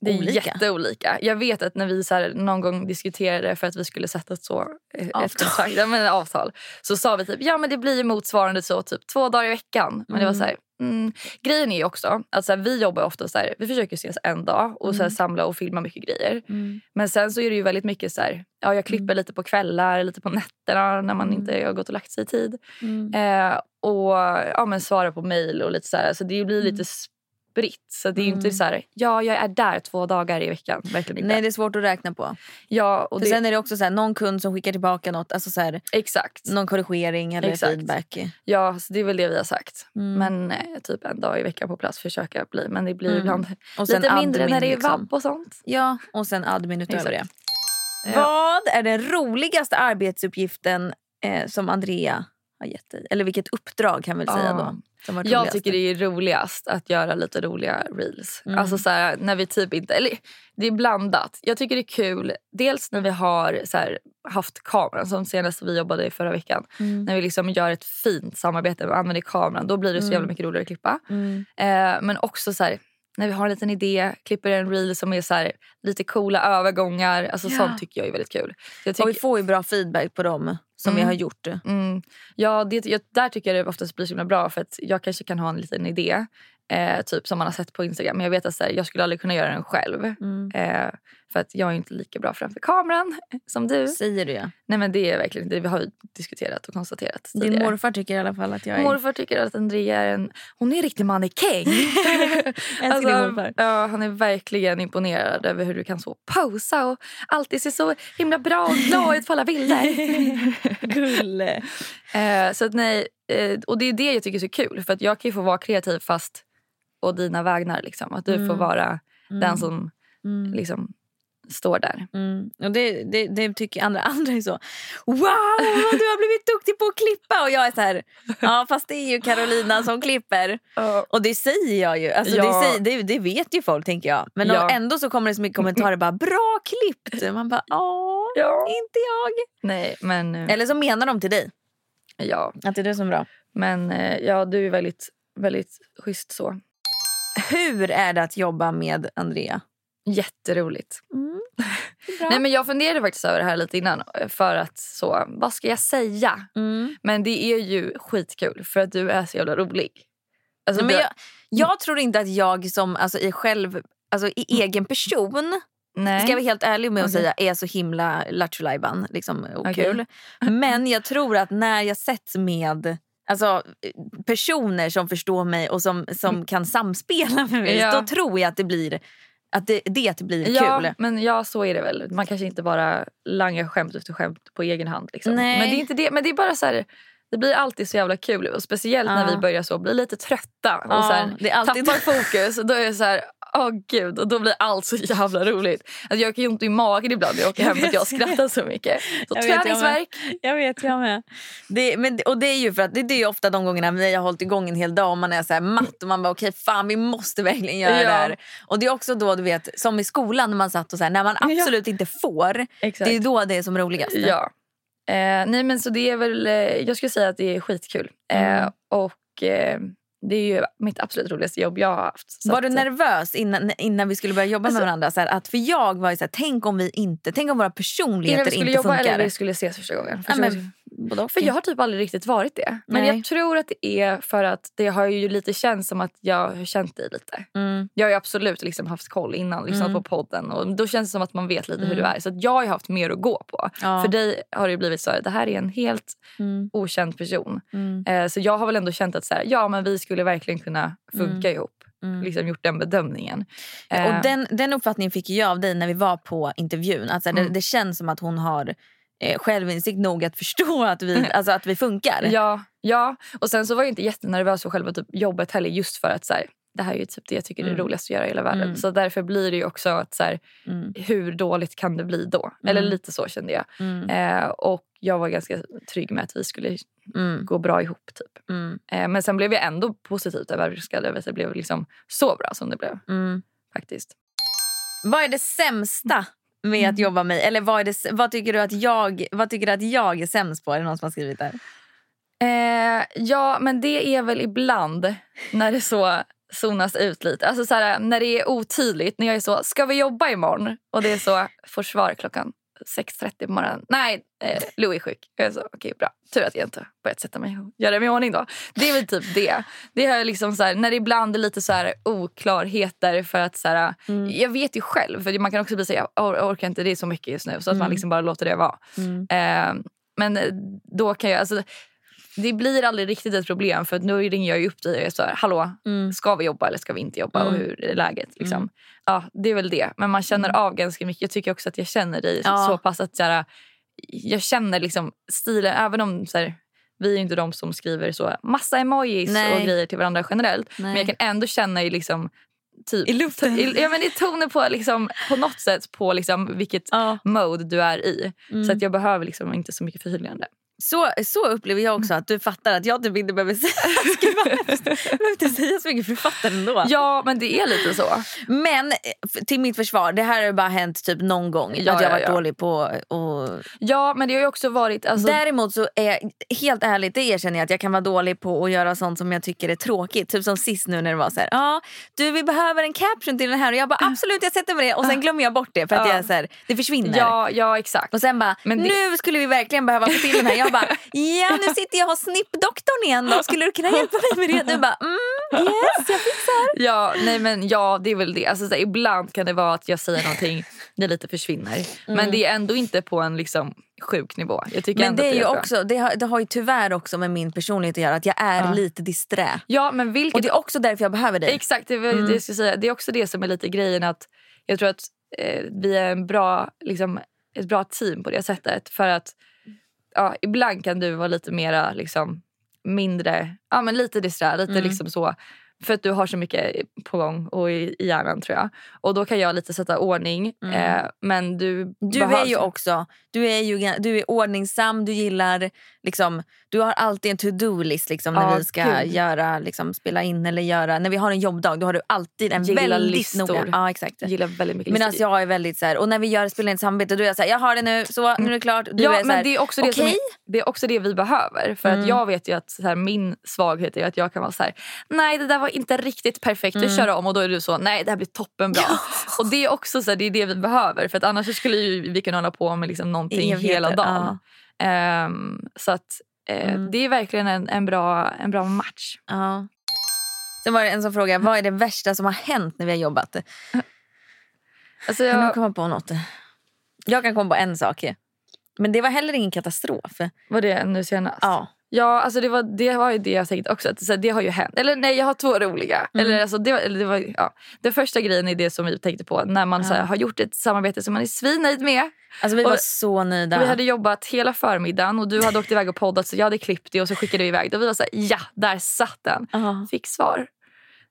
det är
olika.
jätteolika. Jag vet att när vi så här, någon gång diskuterade för att vi skulle sätta ett så, eh, ett
Avtal.
kontrakt- ja, men ett avtal så sa vi typ ja men det blir ju motsvarande så typ två dagar i veckan. Men det var så här, mm. Grejen är ju också att så här, vi jobbar ofta så här, vi försöker ses en dag och så här, samla och filma mycket grejer.
Mm.
Men sen så är det ju väldigt mycket så här, ja jag klipper lite på kvällar, lite på nätterna när man inte har gått och lagt sig i tid.
Mm.
Eh, och ja, men svara på mejl och lite så här. Så det blir
Mm.
lite spritt. Så det är ju inte så här, ja jag är där två dagar i veckan. Verkligen inte.
Nej, det är svårt att räkna på.
ja, och
För
det,
Sen är det också så här, någon kund som skickar tillbaka något, alltså så här,
exakt.
någon korrigering eller
Exakt.
feedback.
Ja, så det är väl det vi har sagt.
Mm.
Men eh, typ en dag i veckan på plats försöka bli. Men det blir
Mm.
ibland
Och sen
lite mindre
admin,
när det är
liksom.
vabb och sånt.
Ja, och sen admin utöver det.
Exakt. Ja.
Vad är den roligaste arbetsuppgiften eh, som Andrea har gett dig? Eller vilket uppdrag kan vi väl säga
Ja.
då? Som varit
Jag
roligast?
tycker det är roligast att göra lite roliga reels.
Mm.
Alltså så här, när vi typ inte... Eller det är blandat. Jag tycker det är kul, dels när vi har så här, haft kameran som senast vi jobbade i förra veckan.
Mm.
När vi liksom gör ett fint samarbete och använder kameran. Då blir det så jävla mycket roligare att klippa.
Mm.
Eh, men också så här, när vi har en liten idé, klipper en reel som är så här, lite coola övergångar. Alltså Sånt tycker jag är väldigt kul. Så Jag
Och
tycker,
vi får ju bra feedback på dem som vi har gjort.
mm, ja, det, jag, där tycker jag det oftast blir så himla bra för att jag kanske kan ha en liten idé eh, typ som man har sett på Instagram. Men jag vet att så här, jag skulle aldrig kunna göra den själv.
Mm.
Eh, för att jag är inte lika bra framför kameran som du.
Säger du ja.
Nej men det är verkligen inte, vi har ju diskuterat och konstaterat
Din
tidigare.
morfar tycker i alla fall att jag är...
Morfar tycker att Andrea är en... Hon är en riktig mannekäng.
Älskar
Alltså,
din morfar.
ja, han är verkligen imponerad över hur du kan så posa och alltid se så himla bra och glad ut på alla bilder.
Gulle.
eh, så att nej, eh, och det är det jag tycker är så kul. För att jag kan ju få vara kreativ fast å dina vägnar. Liksom. Att du får
Mm.
vara den som liksom, står där.
Mm. Och det, det, det tycker andra. Andra är så... Wow, vad du har blivit duktig på att klippa! Och jag är så här... Ja, fast det är ju Carolina som klipper. Och det säger jag ju. Alltså,
Ja.
det, säger, det, det vet ju folk, tänker jag. Men
Ja.
ändå så kommer det så mycket kommentarer. bara Bra klippt! Man bara... Åh,
Ja.
inte jag.
Nej, men, eh,
Eller så menar de till dig
ja.
Mm. att det är du som är bra.
men eh, ja, du är väldigt, väldigt schysst så.
Hur är det att jobba med Andrea?
Jätteroligt.
Mm. Bra.
Nej, men jag funderade faktiskt över det här lite innan. eh, För att så, Vad ska jag säga?
Mm.
Men det är ju skitkul för att du är så jävla rolig. Alltså,
Nej, men
du-
jag, jag tror inte att jag som alltså, i själv, alltså, i egen person
nej.
ska jag vara helt ärlig med att
Okej.
säga är så himla lattjo lajban, liksom, och
Okej.
kul. Men jag tror att när jag sätts med alltså, personer som förstår mig och som, som kan samspela med mig
Ja.
då tror jag att det blir, att det, det blir
ja,
kul.
Men ja, så är det väl. Man kanske inte bara langar skämt efter skämt på egen hand. Liksom.
Nej.
Men det är inte det. Men det är bara så här, det blir alltid så jävla kul. Och speciellt när
Ja.
vi börjar så bli lite trötta och
Ja,
så här,
det är alltid-
tappar fokus. Då är det så här, åh gud. Och då blir allt så jävla roligt. Alltså, jag kan ju ont i magen ibland när jag åker
Jag
hem för att
vet.
jag skrattar så mycket. Så
Jag vet, jag med.
träningsvärk.
Jag vet, jag med. Det, men, det- och det är ju för att det, det är ju ofta de gångerna vi har hållit igång en hel dag och man är så här matt och man bara okej fan vi måste verkligen göra
Ja.
det här. Och det är också då du vet som i skolan när man satt och så här när man absolut inte får.
Exakt.
Det är då det är som roligast.
Ja. Eh, nej men så det är väl, eh, jag skulle säga att det är skitkul. Eh,
Mm.
och eh, det är ju mitt absolut roligaste jobb jag har haft. Så
Var
att, Alltså-
du nervös innan, innan vi skulle börja jobba med varandra? Så här, att för jag var ju så här, tänk om vi inte, tänk om våra
innan vi
personligheter
skulle
inte
jobba
funkar.
eller vi skulle ses första gången?
ja,
Första gången.
men, både och.
För jag har typ aldrig riktigt varit det. Men
Nej.
jag tror att det är för att det har ju lite känts som att jag har känt dig lite.
mm.
Jag har ju absolut liksom haft koll innan, liksom
Mm.
på podden. Och då känns det som att man vet lite hur du
Mm.
är. Så att jag har ju haft mer att gå på.
ja.
För dig har det ju blivit så här, det här är en helt
mm.
okänd person.
Mm.
Eh, så jag har väl ändå känt att så här, ja, men vi skulle verkligen kunna funka ihop.
Mm.
Liksom gjort den bedömningen. Eh,
Och den, den uppfattningen fick ju jag av dig när vi var på intervjun. Alltså, det,
Mm.
det känns som att hon har eh, självinsikt nog att förstå att vi, alltså, att vi funkar.
ja, ja, och sen så var jag inte jättenervös för själva typ jobbet heller just för att så här, det här är ju typ det jag tycker är
Mm.
roligast att göra i hela världen.
Mm.
Så därför blir det ju också att så här,
Mm,
hur dåligt kan det bli då? Eller
Mm.
lite så kände jag.
mm,
Eh, och jag var ganska trygg med att vi skulle
mm,
gå bra ihop typ.
mm,
Eh, men sen blev jag ändå positivt överraskad över att det blev liksom så bra som det blev
mm.
faktiskt.
Vad är det sämsta med
Mm.
att jobba med Eller vad, är det, s- vad, tycker du att jag, vad tycker du att jag är sämst på? Är det någon som har skrivit där?
Eh, ja, men det är väl ibland när det så zonas ut lite. Alltså så här, när det är otydligt. När jag är så, ska vi jobba imorgon? Och det är så, får svar klockan 6.30 på morgonen. Nej, eh, Lou är sjuk. Jag är så, okej bra. Tur att jag inte har börjat sätta mig och göra mig i ordning då. Det är väl typ det. Det är liksom så här, när det ibland är lite så här oklarheter för att så här, jag vet ju själv. För man kan också bli så här, jag or- orkar inte, det är så mycket just nu. Så att man
Mm.
liksom bara låter det vara. Eh, men då kan jag... Alltså, det blir aldrig riktigt ett problem för att nu ringer jag ju upp dig och jag säger hallå,
Mm.
ska vi jobba eller ska vi inte jobba och
Mm.
hur är läget? Liksom. Ja, det är väl det. Men man känner av ganska mycket. Jag tycker också att jag känner dig
Ja.
så pass att så här, jag känner liksom stilen, även om så här, vi är ju inte de som skriver så massa emojis och
Nej.
grejer till varandra generellt.
Nej.
Men jag kan ändå känna i liksom typ,
I luften.
i- ja, men i tonen på, liksom, på något sätt på liksom vilket
Ja.
mode du är i.
Mm.
Så att jag behöver liksom inte så mycket förtydligande.
Så, så upplever jag
Mm.
också att du fattar att jag typ inte behöver säga, Gud, vad hemskt. Jag behöver inte säga så mycket för du fattar ändå.
Ja, men det är lite så.
Men eh, f- till mitt försvar, det här har ju bara hänt typ någon gång.
Ja,
att jag har
ja,
varit
ja.
dålig på... Och...
Ja, men det har ju också varit... Alltså,
Däremot så är jag, helt ärligt, det erkänner jag att jag kan vara dålig på att göra sånt som jag tycker är tråkigt. Typ som sist nu när det var så här, ja du vi behöver en caption till den här och jag bara absolut jag sätter mig det och sen glömmer jag bort det för att
Ja.
jag är så här, det försvinner.
Ah. ja, ja, exakt.
Och sen bara,
Men det-
nu skulle vi verkligen behöva få till den här. Jag bara, ja nu sitter jag hos snippdoktorn igen då. Skulle du kunna hjälpa mig med det? Du bara, mm, yes jag fixar.
Ja, nej men ja, det är väl det. Alltså, så här, ibland kan det vara att jag säger någonting, det lite försvinner. Men det är ändå inte på en liksom, sjuk nivå. Jag
Mm.
tycker
Men
ändå
det, är
att
ju
bra.
också, det, har, det har ju tyvärr också med min personlighet att göra att jag är
Ah.
lite disträ.
Ja, men vilket...
Och det är också därför jag behöver dig.
Exakt, det var ju
Mm.
det jag skulle säga. Det är också det som är lite grejen att jag tror att eh, vi är en bra, liksom, ett bra team på det sättet. För att ja, ibland kan du vara lite mera liksom, mindre, ja men lite disträ, lite
Mm.
liksom så. För att du har så mycket på gång och i, i hjärnan tror jag. Och då kan jag lite sätta ordning. Eh, men du
Mm. Du är ju också du är ju gan- du är ordningsam, du gillar liksom, du har alltid en to-do-list liksom, när
Ja,
vi ska
gud.
göra, liksom, spela in eller göra. När vi har en jobbdag då har du alltid en
Gillar
väldigt
listor.
noga... Ja, exakt.
gillar väldigt mycket
Medan
listor.
jag är väldigt så här, och när vi gör spelar in ett samarbete då är jag så här, jag har det nu, så nu är det klart. Du
ja,
är så här,
men det är, också det, som är, Mm.
okej.
det är också det vi behöver. För att jag vet ju att så här, min svaghet är att jag kan vara så här, nej det där var inte riktigt perfekt, vi kör om. Och då är du så, nej det här blir toppenbra. Och det är också så här, det är det vi behöver. För att annars så skulle ju vi kunna hålla på med liksom någonting
Evigheter,
hela dagen. Ehm, så att eh, det är verkligen en, en, bra, en bra match.
Ja. Sen var det en som frågade, vad är det värsta som har hänt när vi har jobbat?
Alltså,
Kan du
jag,
komma på något? Jag kan komma på en sak. ju. Men det var heller ingen katastrof.
var det nu senast?
Ja.
Ja, alltså det var, det var ju det jag tänkte också. Att, så här, det har ju hänt. Eller nej, jag har två roliga.
Mm.
Eller, alltså, det, var- eller, det var, ja. Den första grejen är det som vi tänkte på. När man så här, har gjort ett samarbete som man är svinnöjd med.
Alltså vi
Och-
var så nöjda.
Vi hade jobbat hela förmiddagen och du hade åkt iväg och poddat så jag hade klippt det och så skickade vi iväg det. Och vi var så här, ja, där satt den.
Ja.
Fick svar.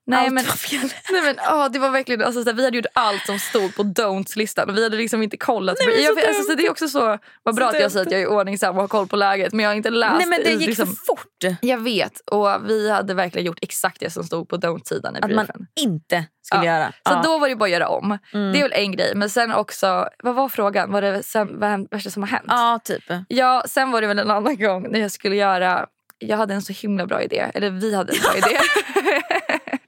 Nej,
Allt
men,
var fel.
Nej, men, åh, det var verkligen, alltså, så här, vi hade gjort allt som stod på don'ts-listan och vi hade liksom inte kollat.
Nej, men
jag,
så
alltså, så det är också så, vad bra
Så
att jag
dumt.
säger att jag är ordningsam och har koll på läget men jag har inte läst
Nej men det
i,
gick
liksom,
för fort.
jag vet. Och vi hade verkligen gjort exakt det som stod på don't-sidan i
Att man
briefen.
inte skulle
Ja.
göra.
Så
Ja. Mm.
då var det bara att göra om. Det är väl en grej. Men sen också, vad var frågan? Var det sen, vad hänt- värsta som har hänt?
ja typ.
Ja, sen var det väl en annan gång när jag skulle göra jag hade en så himla bra idé. Eller vi hade en bra idé.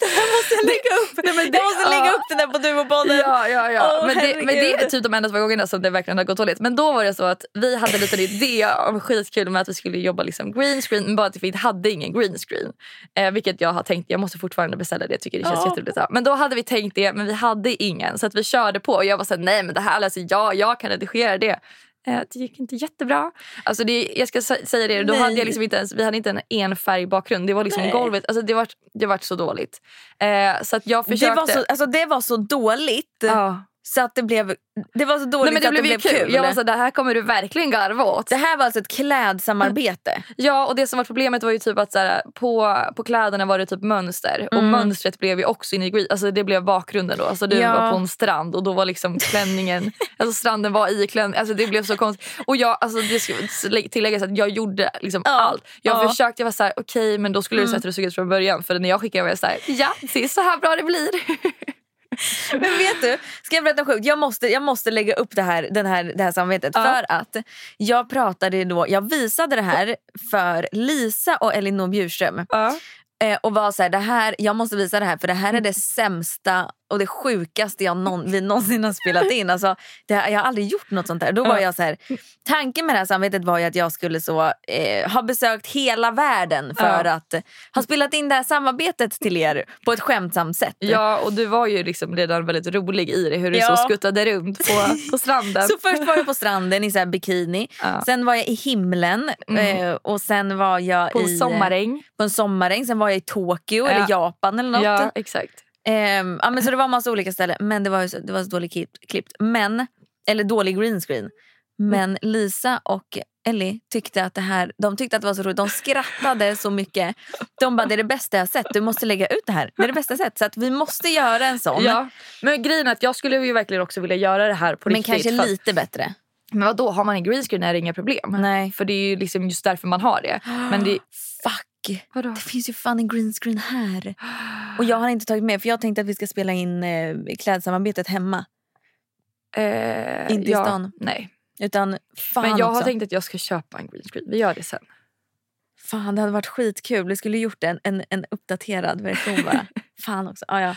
Jag, lägga upp. Nej, men det, jag måste lägga
ja.
upp den där på Duopodden.
Ja, ja, ja.
Åh,
men, det, men det är
herregud.
typ de enda två gångerna som det verkligen har gått dåligt. Men då var det så att vi hade en liten idé om skitkul med att vi skulle jobba liksom green screen. Men bara att vi inte hade ingen green screen. Eh, vilket jag har tänkt, jag måste fortfarande beställa det. Jag tycker det känns
Ja.
jätteroligt. Ja. Men då hade vi tänkt det men vi hade ingen. Så att vi körde på och jag var såhär, nej men det här löser jag, jag kan redigera det. Eh, Det gick inte jättebra. Alltså det, jag ska sä- säga det, då
Nej.
hade jag liksom inte ens, vi hade inte en enfärg bakgrund. Det var liksom
Nej.
golvet. Alltså det var, det var så dåligt. Eh, så att jag försökte.
Det, var så, alltså, det var så dåligt.
Ja.
Så att det blev Det var så dåligt
Nej, men det
att
blev,
det
ju
blev kul.
kul. Jag var så, det här kommer du verkligen garva åt.
det här var alltså ett klädsamarbete.
Ja, och det som var problemet var ju typ att så här, på, på kläderna var det typ mönster.
Mm.
Och mönstret blev ju också inne i green. Alltså det blev bakgrunden då. Alltså du
Ja.
var på en strand och då var liksom klänningen, alltså stranden var i klänningen. Alltså det blev så konstigt. Och jag, alltså det ska lä- tilläggas att jag gjorde liksom allt. Jag
Ja. Mm.
försökte, jag var så här, okej men då skulle du sett hur det såg ut från början. För när jag skickade var jag så här, ja det är så här bra det blir.
Men vet du, ska jag berätta sjukt? Jag måste, jag måste lägga upp det här, den här, det här samarbetet.
Ja.
För att jag pratade ju då, jag visade det här för Lisa och Elinor Bjurström.
Ja.
Eh, och var så här, det här, jag måste visa det här för det här är det sämsta och det sjukaste jag någon, vi någonsin har spelat in. Alltså, det här, jag har aldrig gjort något sånt här. Då var jag så här, tanken med det här samarbetet var ju att jag skulle så, eh, ha besökt hela världen för
Ja.
att eh, ha spelat in det här samarbetet till er på ett skämtsamt sätt.
Ja, och du var ju liksom redan väldigt rolig i det. Hur du
Ja.
så skuttade runt på, på stranden.
Så först var jag på stranden i så här bikini,
Ja. Mhm.
sen var jag i himlen eh, och sen var jag
på
i, eh,
en sommaräng.
på en sommaräng, sen var jag i Tokyo
Ja.
eller Japan eller något.
Ja, exakt.
Ehm, ja, men så det var massa olika ställen. Men det var, ju så, det var så dåligt klippt, klippt. Men, eller dålig green screen.
Mm.
Men Lisa och Ellie tyckte att det här, de tyckte att det var så roligt. De skrattade så mycket. De bara, det är det bästa jag har sett. Du måste lägga ut det här. Det är det bästa jag har sett. Så att vi måste göra en sån.
Ja. Men grejen är att jag skulle ju verkligen också vilja göra det här på
men
riktigt.
kanske
för att-
lite bättre.
Men vad då har man en greenscreen är det inga problem.
Nej.
För det är ju liksom just därför man har det. Men det...
Fuck!
Vadå?
Det finns ju fan en green screen här. Och jag har inte tagit med för jag tänkte att vi ska spela in eh, klädsamarbetet hemma.
Eh,
Inte i
ja,
stan.
Nej.
Utan fan
Men jag har
också.
tänkt att jag ska köpa en greenscreen. Vi gör det sen.
Fan, det hade varit skitkul. Vi skulle gjort en, en, en uppdaterad version bara. Fan också. Ja, ja.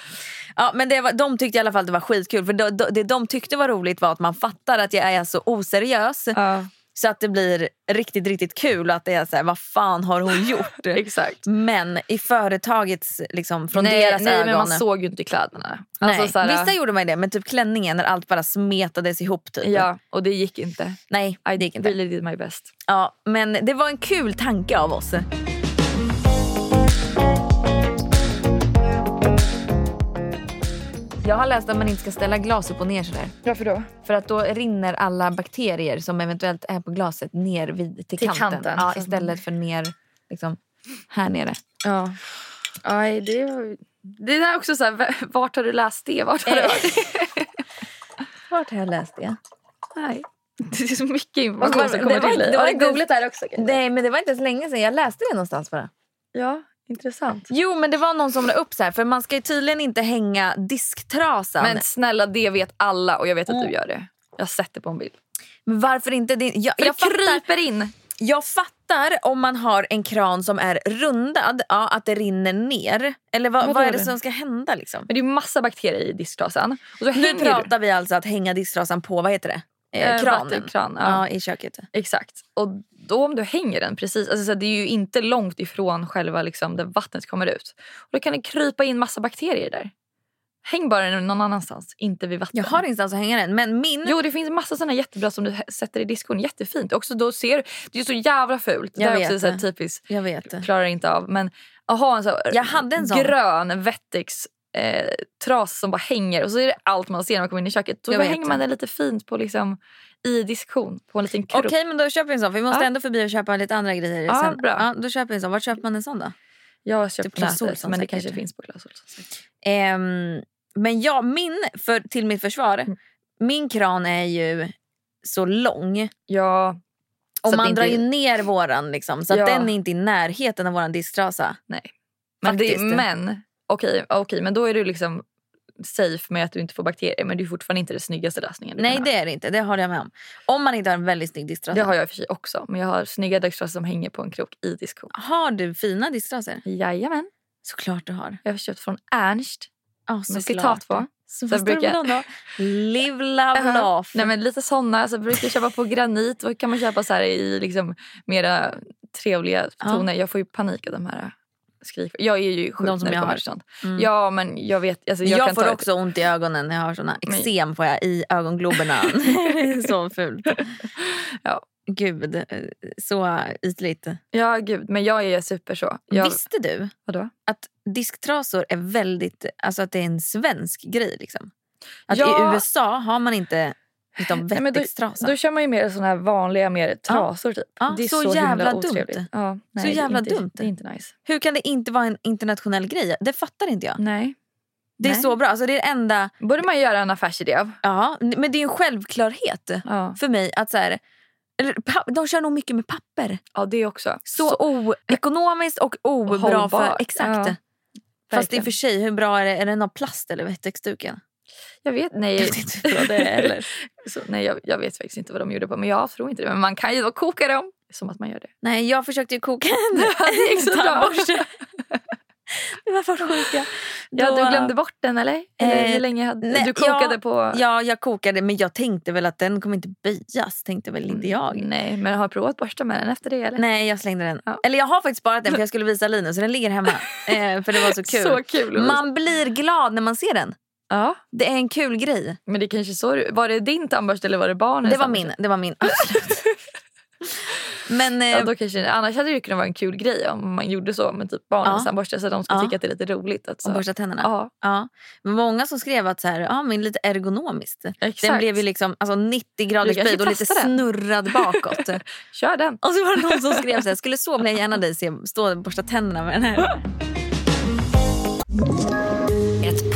Ja, men det var, de tyckte i alla fall att det var skitkul. För de, de, det de tyckte var roligt var att man fattar att jag är så oseriös.
Ja,
Så att det blir riktigt, riktigt kul. och Att det är så här, vad fan har hon gjort?
exakt.
men i företagets, liksom, från
nej,
deras
nej
ögon.
men man såg ju inte kläderna.
Nej.
Alltså, så här,
Vissa gjorde man det, men typ klänningen när allt bara smetades ihop. Typ.
Ja, och det gick inte.
Nej,
I
det gick inte.
really did my best.
Ja, men det var en kul tanke av oss. Jag har läst att man inte ska ställa glas upp och ner sådär.
Varför då?
För att då rinner alla bakterier som eventuellt är på glaset ner vid, till,
Till
kanten.
kanten.
Ja, istället för ner liksom, här nere.
Ja. Aj, det, var- det där är också så här, v- vart har du läst det? Vart har du
Eh.
hört det?
Vart har jag läst det?
Nej. Det är så mycket information som
Det
kommer
var
till
inte-
dig.
det var
Har du
inte-
googlat det här också? kanske?
Nej, men det var inte så länge sedan. Jag läste det någonstans bara.
Ja, intressant.
Jo, men det var någon som la upp så här. För man ska ju tydligen inte hänga disktrasan.
Men Mm. snälla, det vet alla och jag vet att du gör det. Jag har sett det på en bild.
Men varför inte? Det, jag,
För
jag,
det
fattar,
kryper in.
jag fattar om man har en kran som är rundad, ja, att det rinner ner. Eller vad,
Vadå
vad är det
det?
som ska hända? Liksom?
Men det är ju massa bakterier i disktrasan. Och så hänger
Nu
du-
pratar vi alltså att hänga disktrasan på vad heter det? Eh,
Eh,
kranen.
vattenkran, ja.
Ja, i köket.
Exakt. Och då om du hänger den precis, alltså så här, det är ju inte långt ifrån själva liksom där vattnet kommer ut. Och då kan det krypa in massa bakterier där. Häng bara den någon annanstans, inte vid vatten.
Jag har ingenstans att hänga den, men min...
Jo, det finns massa såna jättebra som du hä- sätter i diskon. Jättefint. Också då ser, det är så jävla fult. Det
Jag
där är
vet
också så här
det.
typiskt.
Jag vet.
Klarar inte av. Men att ha en, så här
Jag hade en sån.
grön Vettix eh, tras som bara hänger och så är det allt man ser när man kommer in i köket. Då
Jag vet
hänger man den lite fint på liksom, i diskon på en liten krupp.
Okej, men då köper vi en sån. För vi måste
Ja.
ändå förbi och köpa lite andra grejer
Ja,
sen.
bra.
Ja, då köper vi en sån. Vart köper man en sån då?
Jag har köpt
Typ
typ
Clas
nätet
Ohlson
men det
säkert.
kanske finns på Clas Ohlson.
Ehm, men ja, min, för, till mitt försvar,
Mm.
min kran är ju så lång.
Ja,
Och
Så att
man
det inte-
drar ju ner våran liksom, så att
Ja.
den är inte i närheten av våran disktrasa.
men, det,
Faktiskt.
men okej, okej, men då är du liksom safe med att du inte får bakterier men det är fortfarande inte den snyggaste lösningen. du
Nej
kan ha.
det är det inte, det håller jag med om. Om man inte har en väldigt snygg disktrasa.
det
har...
har jag i och för sig också men jag har snygga dagstrasor som hänger på en krok i diskon.
du fina disktrasor?
Jajamän,
Såklart du har.
jag har köpt från Ernst
Ja, såklart.
med citat på.
Så
Så
vad står det på
brukar-
den då? Live, love,
Aha.
laugh.
Nej, men lite såna. Så brukar jag köpa på granit. Vad kan man köpa så här i liksom mera trevliga
Ja.
toner? Jag får ju panik av de här skrik. Jag är ju sjuk
De som
när det
jag
kommer
har.
till sånt.
Mm.
Ja, men jag vet. Alltså, jag
jag
kan
får
ta
också ont i ögonen när jag har såna.
Men-
Eksem får jag i ögongloberna. Det är så fult.
Ja.
Gud, eh, så ytligt.
Ja, gud. Men jag är super så. Jag,
Visste du
Vadå?
att disktrasor är väldigt, alltså att det är en svensk grej liksom? Att
Ja.
i USA har man inte utom
Nej, men då-
vettextrasa.
Då kör man ju mer såna här vanliga, mer trasor typ.
Alltså. Ja,
det är
så
så,
jävla
himla
dumt.
otrevligt. Ja, nej, det är
jävla
inte,
dumt.
Det är inte nice.
Hur kan det inte vara en internationell grej? Det fattar inte jag.
Nej.
Det är
Nej.
så bra, alltså det är det enda,
Borde man göra en affärsidé av.
ja, men det är ju en självklarhet
Ja.
för mig att så här, eller pa- de kör nog mycket med papper.
ja, det också.
Så, oekonomiskt och obra för...
Hållbart.
Exakt. Fast
Ja,
i
verkligen.
och för sig, hur bra är det? Är det någon plast eller vettextduken?
Jag vet,
Jag
nej.
vet inte hur bra det är heller.
Så, nej, jag, jag vet faktiskt inte vad de gjorde på men jag tror inte det. Men man kan ju då koka dem. Som att man gör det.
Nej, jag försökte ju koka en
det gick så bra.
tandborste. Det var folk sjuka.
Ja,
Då-
du glömde bort den eller? eller
Eh,
hur länge hade,
nej,
du kokade
ja,
på?
Ja, jag kokade men jag tänkte väl att den kommer inte böjas. Tänkte väl inte jag.
Mm. Nej, men har du provat borsta med den efter det eller?
Nej, jag slängde den.
Ja.
Eller jag har faktiskt sparat den för jag skulle visa Linus. Så den ligger hemma. eh, för det var så kul.
Så kul.
Man blir glad när man ser den.
ja,
Det är en kul grej.
men det är kanske så du- Var det din tandborste eller var det barnens?
Det var
tandborste?
min. Det var min. Absolut. men eh,
Ja, då kanske, annars hade det ju kunnat vara en kul grej om man gjorde så med typ barnens
Ja.
tandborste så att de skulle
Ja.
tycka att det är lite roligt. Att, så.
och borsta tänderna.
Ja,
Ja. Men Många som skrev att så här, ja, men lite ergonomiskt.
exakt.
Den blev ju liksom alltså 90 grader
Du kanske
böjd och lite
testar den.
snurrad bakåt.
Kör den.
och så var det någon som skrev så här, skulle så vilja gärna dig se stå och borsta tänderna med den här.
Ett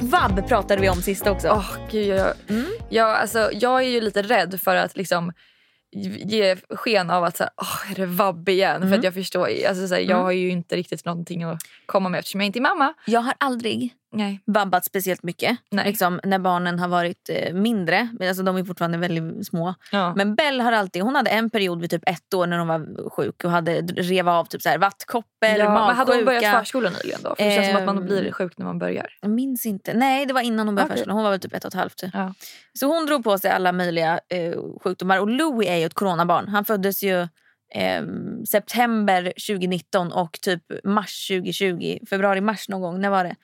Vab pratade vi om sist också.
Åh, gud, jag, jag- jag, alltså, jag är ju lite rädd för att liksom ge sken av att så här, "Åh, är det vabb igen?
Mm.
För att jag förstår ju- alltså, så här, jag har ju inte riktigt någonting att komma med eftersom jag inte är mamma.
Jag har aldrig
Nej.
vabbat speciellt mycket.
Nej.
Liksom, när barnen har varit eh, mindre. Men Alltså, de är fortfarande väldigt små.
Ja.
Men Bell har alltid, hon hade en period vid typ ett år när hon var sjuk och hade rev av typ så här vattkoppor,
ja, men
magsjuka.
hade hon börjat förskolan nyligen då? För det känns som att man
Ehm.
blir sjuk när man börjar.
Jag minns inte. Nej, det var innan hon började
Okej.
förskolan. Hon var väl typ ett och ett halvt.
Ja.
Så hon drog på sig alla möjliga eh, sjukdomar. Och Louis är ju ett coronabarn. Han föddes ju eh, september 2019 och typ mars 2020. Februari-mars någon gång. När var det?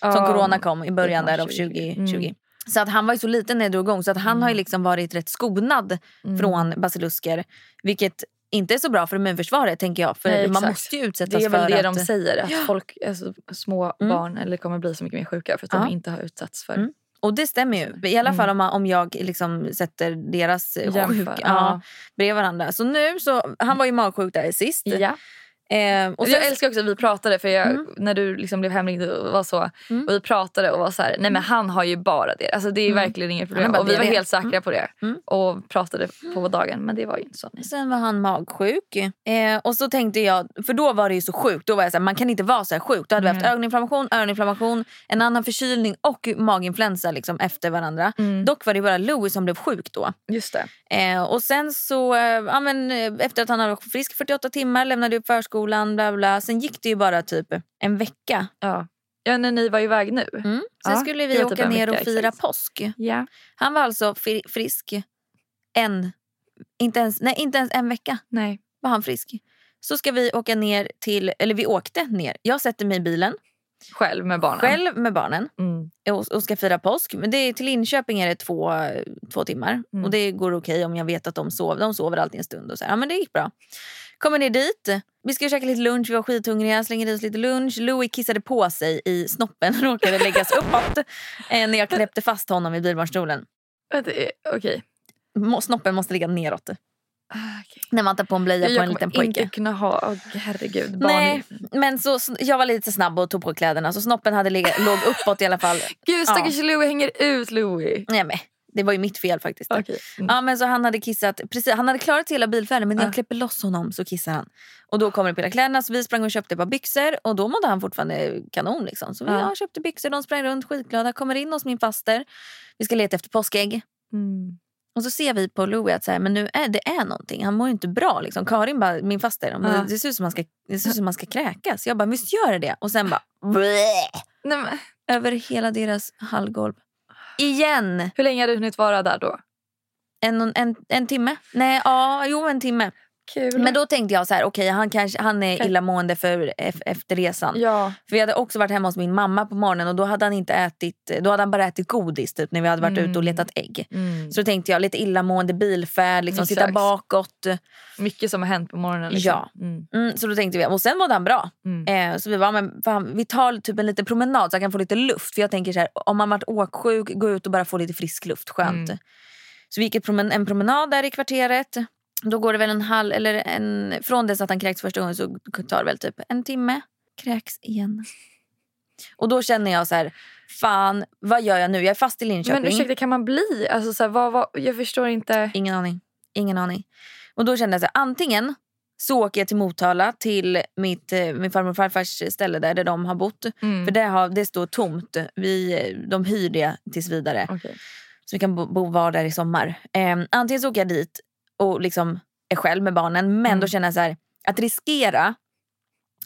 Som
Ja,
corona kom i början
typ mars
där av 2020.
2020.
Så att han var ju så liten när det drog igång så att han har ju liksom varit rätt skonad
Mm.
från basilusker. Vilket inte är så bra för immunförsvaret tänker jag. För
Nej,
man
exakt.
måste ju utsättas
Det är väl
för
det
att...
de säger, att folk, alltså, små
Mm.
barn eller kommer bli så mycket mer sjuka för att
Ja.
de inte har utsatts för
Mm. Och det stämmer ju. I alla fall om, man, om jag liksom sätter deras eh,
Mm. Jämför,
sjuk ja,
ja.
bredvid varandra. Så nu så, han var ju magsjuk där sist.
Ja.
Eh, och
Och
sen,
jag älskar också att vi pratade, för jag, när du liksom blev hemringd och var så. Och vi pratade och var så här, nej men han har ju bara det. Alltså det är verkligen inget problem.
bara
Och vi var
diarré.
helt säkra på det. Och pratade på dagen, men det var ju inte så. Nej.
sen var han magsjuk. Eh, och så tänkte jag, för då var det ju så sjukt. Då var jag så här, man kan inte vara så här sjuk. Då hade vi
Mm.
haft ögoninflammation, öroninflammation, en annan förkylning och maginfluensa liksom efter varandra. Dock var det bara Louis som blev sjuk då.
Just det.
Eh, och sen så, eh, ja, men, eh, efter att han hade varit frisk 48 timmar, lämnade upp förskolan, bla bla. Sen gick det ju bara typ en vecka.
Ja. ja, när ni var iväg nu.
Mm. Sen
Ja,
skulle
det
vi
var typ
åka
en
ner och
vecka,
fira
exakt.
påsk.
Ja.
Han var alltså fri- frisk en, inte ens, nej, inte ens en vecka
Nej.
var han frisk. Så ska vi åka ner till, eller vi åkte ner. Jag sätter mig i bilen
Själv med barnen.
själv med barnen
Mm.
och, och ska fira påsk. Men det, är- till Linköping är det två, två timmar.
Mm.
Och Det går okej om jag vet att de sover. De sover alltid en stund. Och så här. Ja, men det gick bra. Kommer ner dit. Vi ska käka lite lunch. Vi var skithungriga. Slänger i oss lite lunch. Louis kissade på sig i snoppen. Råkade läggas uppåt eh, när jag knäppte fast honom i bilbarnstolen.
Vänta, eh, Okej.
Må- Snoppen måste ligga neråt
Ah, okej.
när man tar på en blöja på en
Jag
liten
kommer
pojke.
inte kunna ha, oh, herregud. Barn.
Nej, men så, så, jag var lite snabb och tog på kläderna så snoppen hade legat, låg uppåt i alla fall.
Gud stackars Louie hänger ut Louie.
Nej, men, det var ju mitt fel faktiskt.
Okej. Mm.
Ja, men så han hade kissat, precis, han hade klarat hela bilfärden men när jag
Ja.
klipper loss honom så kissar han. Och då kommer det på hela kläderna så vi sprang och köpte ett par byxor och då mådde han fortfarande kanon. Liksom. Så vi
Ja.
ja, köpte byxor, de sprang runt skitglada, kommer in hos min faster. Vi ska leta efter påskägg.
Mm.
Och så ser vi på Louie att så här, men nu är, det är någonting. Han mår ju inte bra. Liksom. Karin bara, min faster, hon bara,
Ja.
det, ser ut som han ska, det ser ut som han ska kräkas. Jag bara, visst gör det det? Och sen bara, bleh.
Nej, men,
över hela deras hallgolv. Igen!
hur länge har du hunnit vara där då?
En, en, en timme? Nej, ja, jo en timme.
Kul.
Men då tänkte jag så här, okej han, kanske, han är illamående för, ef- efter resan.
ja.
För vi hade också varit hemma hos min mamma på morgonen och då hade han, inte ätit, då hade han bara ätit godis typ, när vi hade varit ute och letat ägg.
Mm.
Så då tänkte jag lite illamående bilfärd, liksom, sitta
Exakt.
bakåt.
Mycket som har hänt på morgonen. Liksom.
Ja.
Mm.
Mm, så då tänkte vi, och sen mådde han bra.
Mm.
Eh, så vi bara, men fan, vi tar typ en liten promenad så jag kan få lite luft. För jag tänker så här, om man varit åksjuk, gå ut och bara få lite frisk luft. Skönt.
Mm.
Så vi gick ett promen- en promenad där i kvarteret. Då går det väl en halv, eller en, från dess att han kräks första gången så tar det väl typ en timme. Kräks igen. Och då känner jag så här, fan vad gör jag nu? Jag är fast i Linköping.
Men ursäkta, kan man bli? Alltså, så här, vad, vad, jag förstår inte.
Ingen aning. Ingen aning. Och då kände jag så här, antingen så åker jag till Motala till mitt, eh, min farmor och farfars ställe där, där de har bott.
Mm.
För det, har, det står tomt. Vi, eh, de hyr det tills vidare.
Okej.
Så vi kan bo, bo var där i sommar. Eh, antingen så åker jag dit och liksom är själv med barnen. Men
Mm.
då känner jag så här, att riskera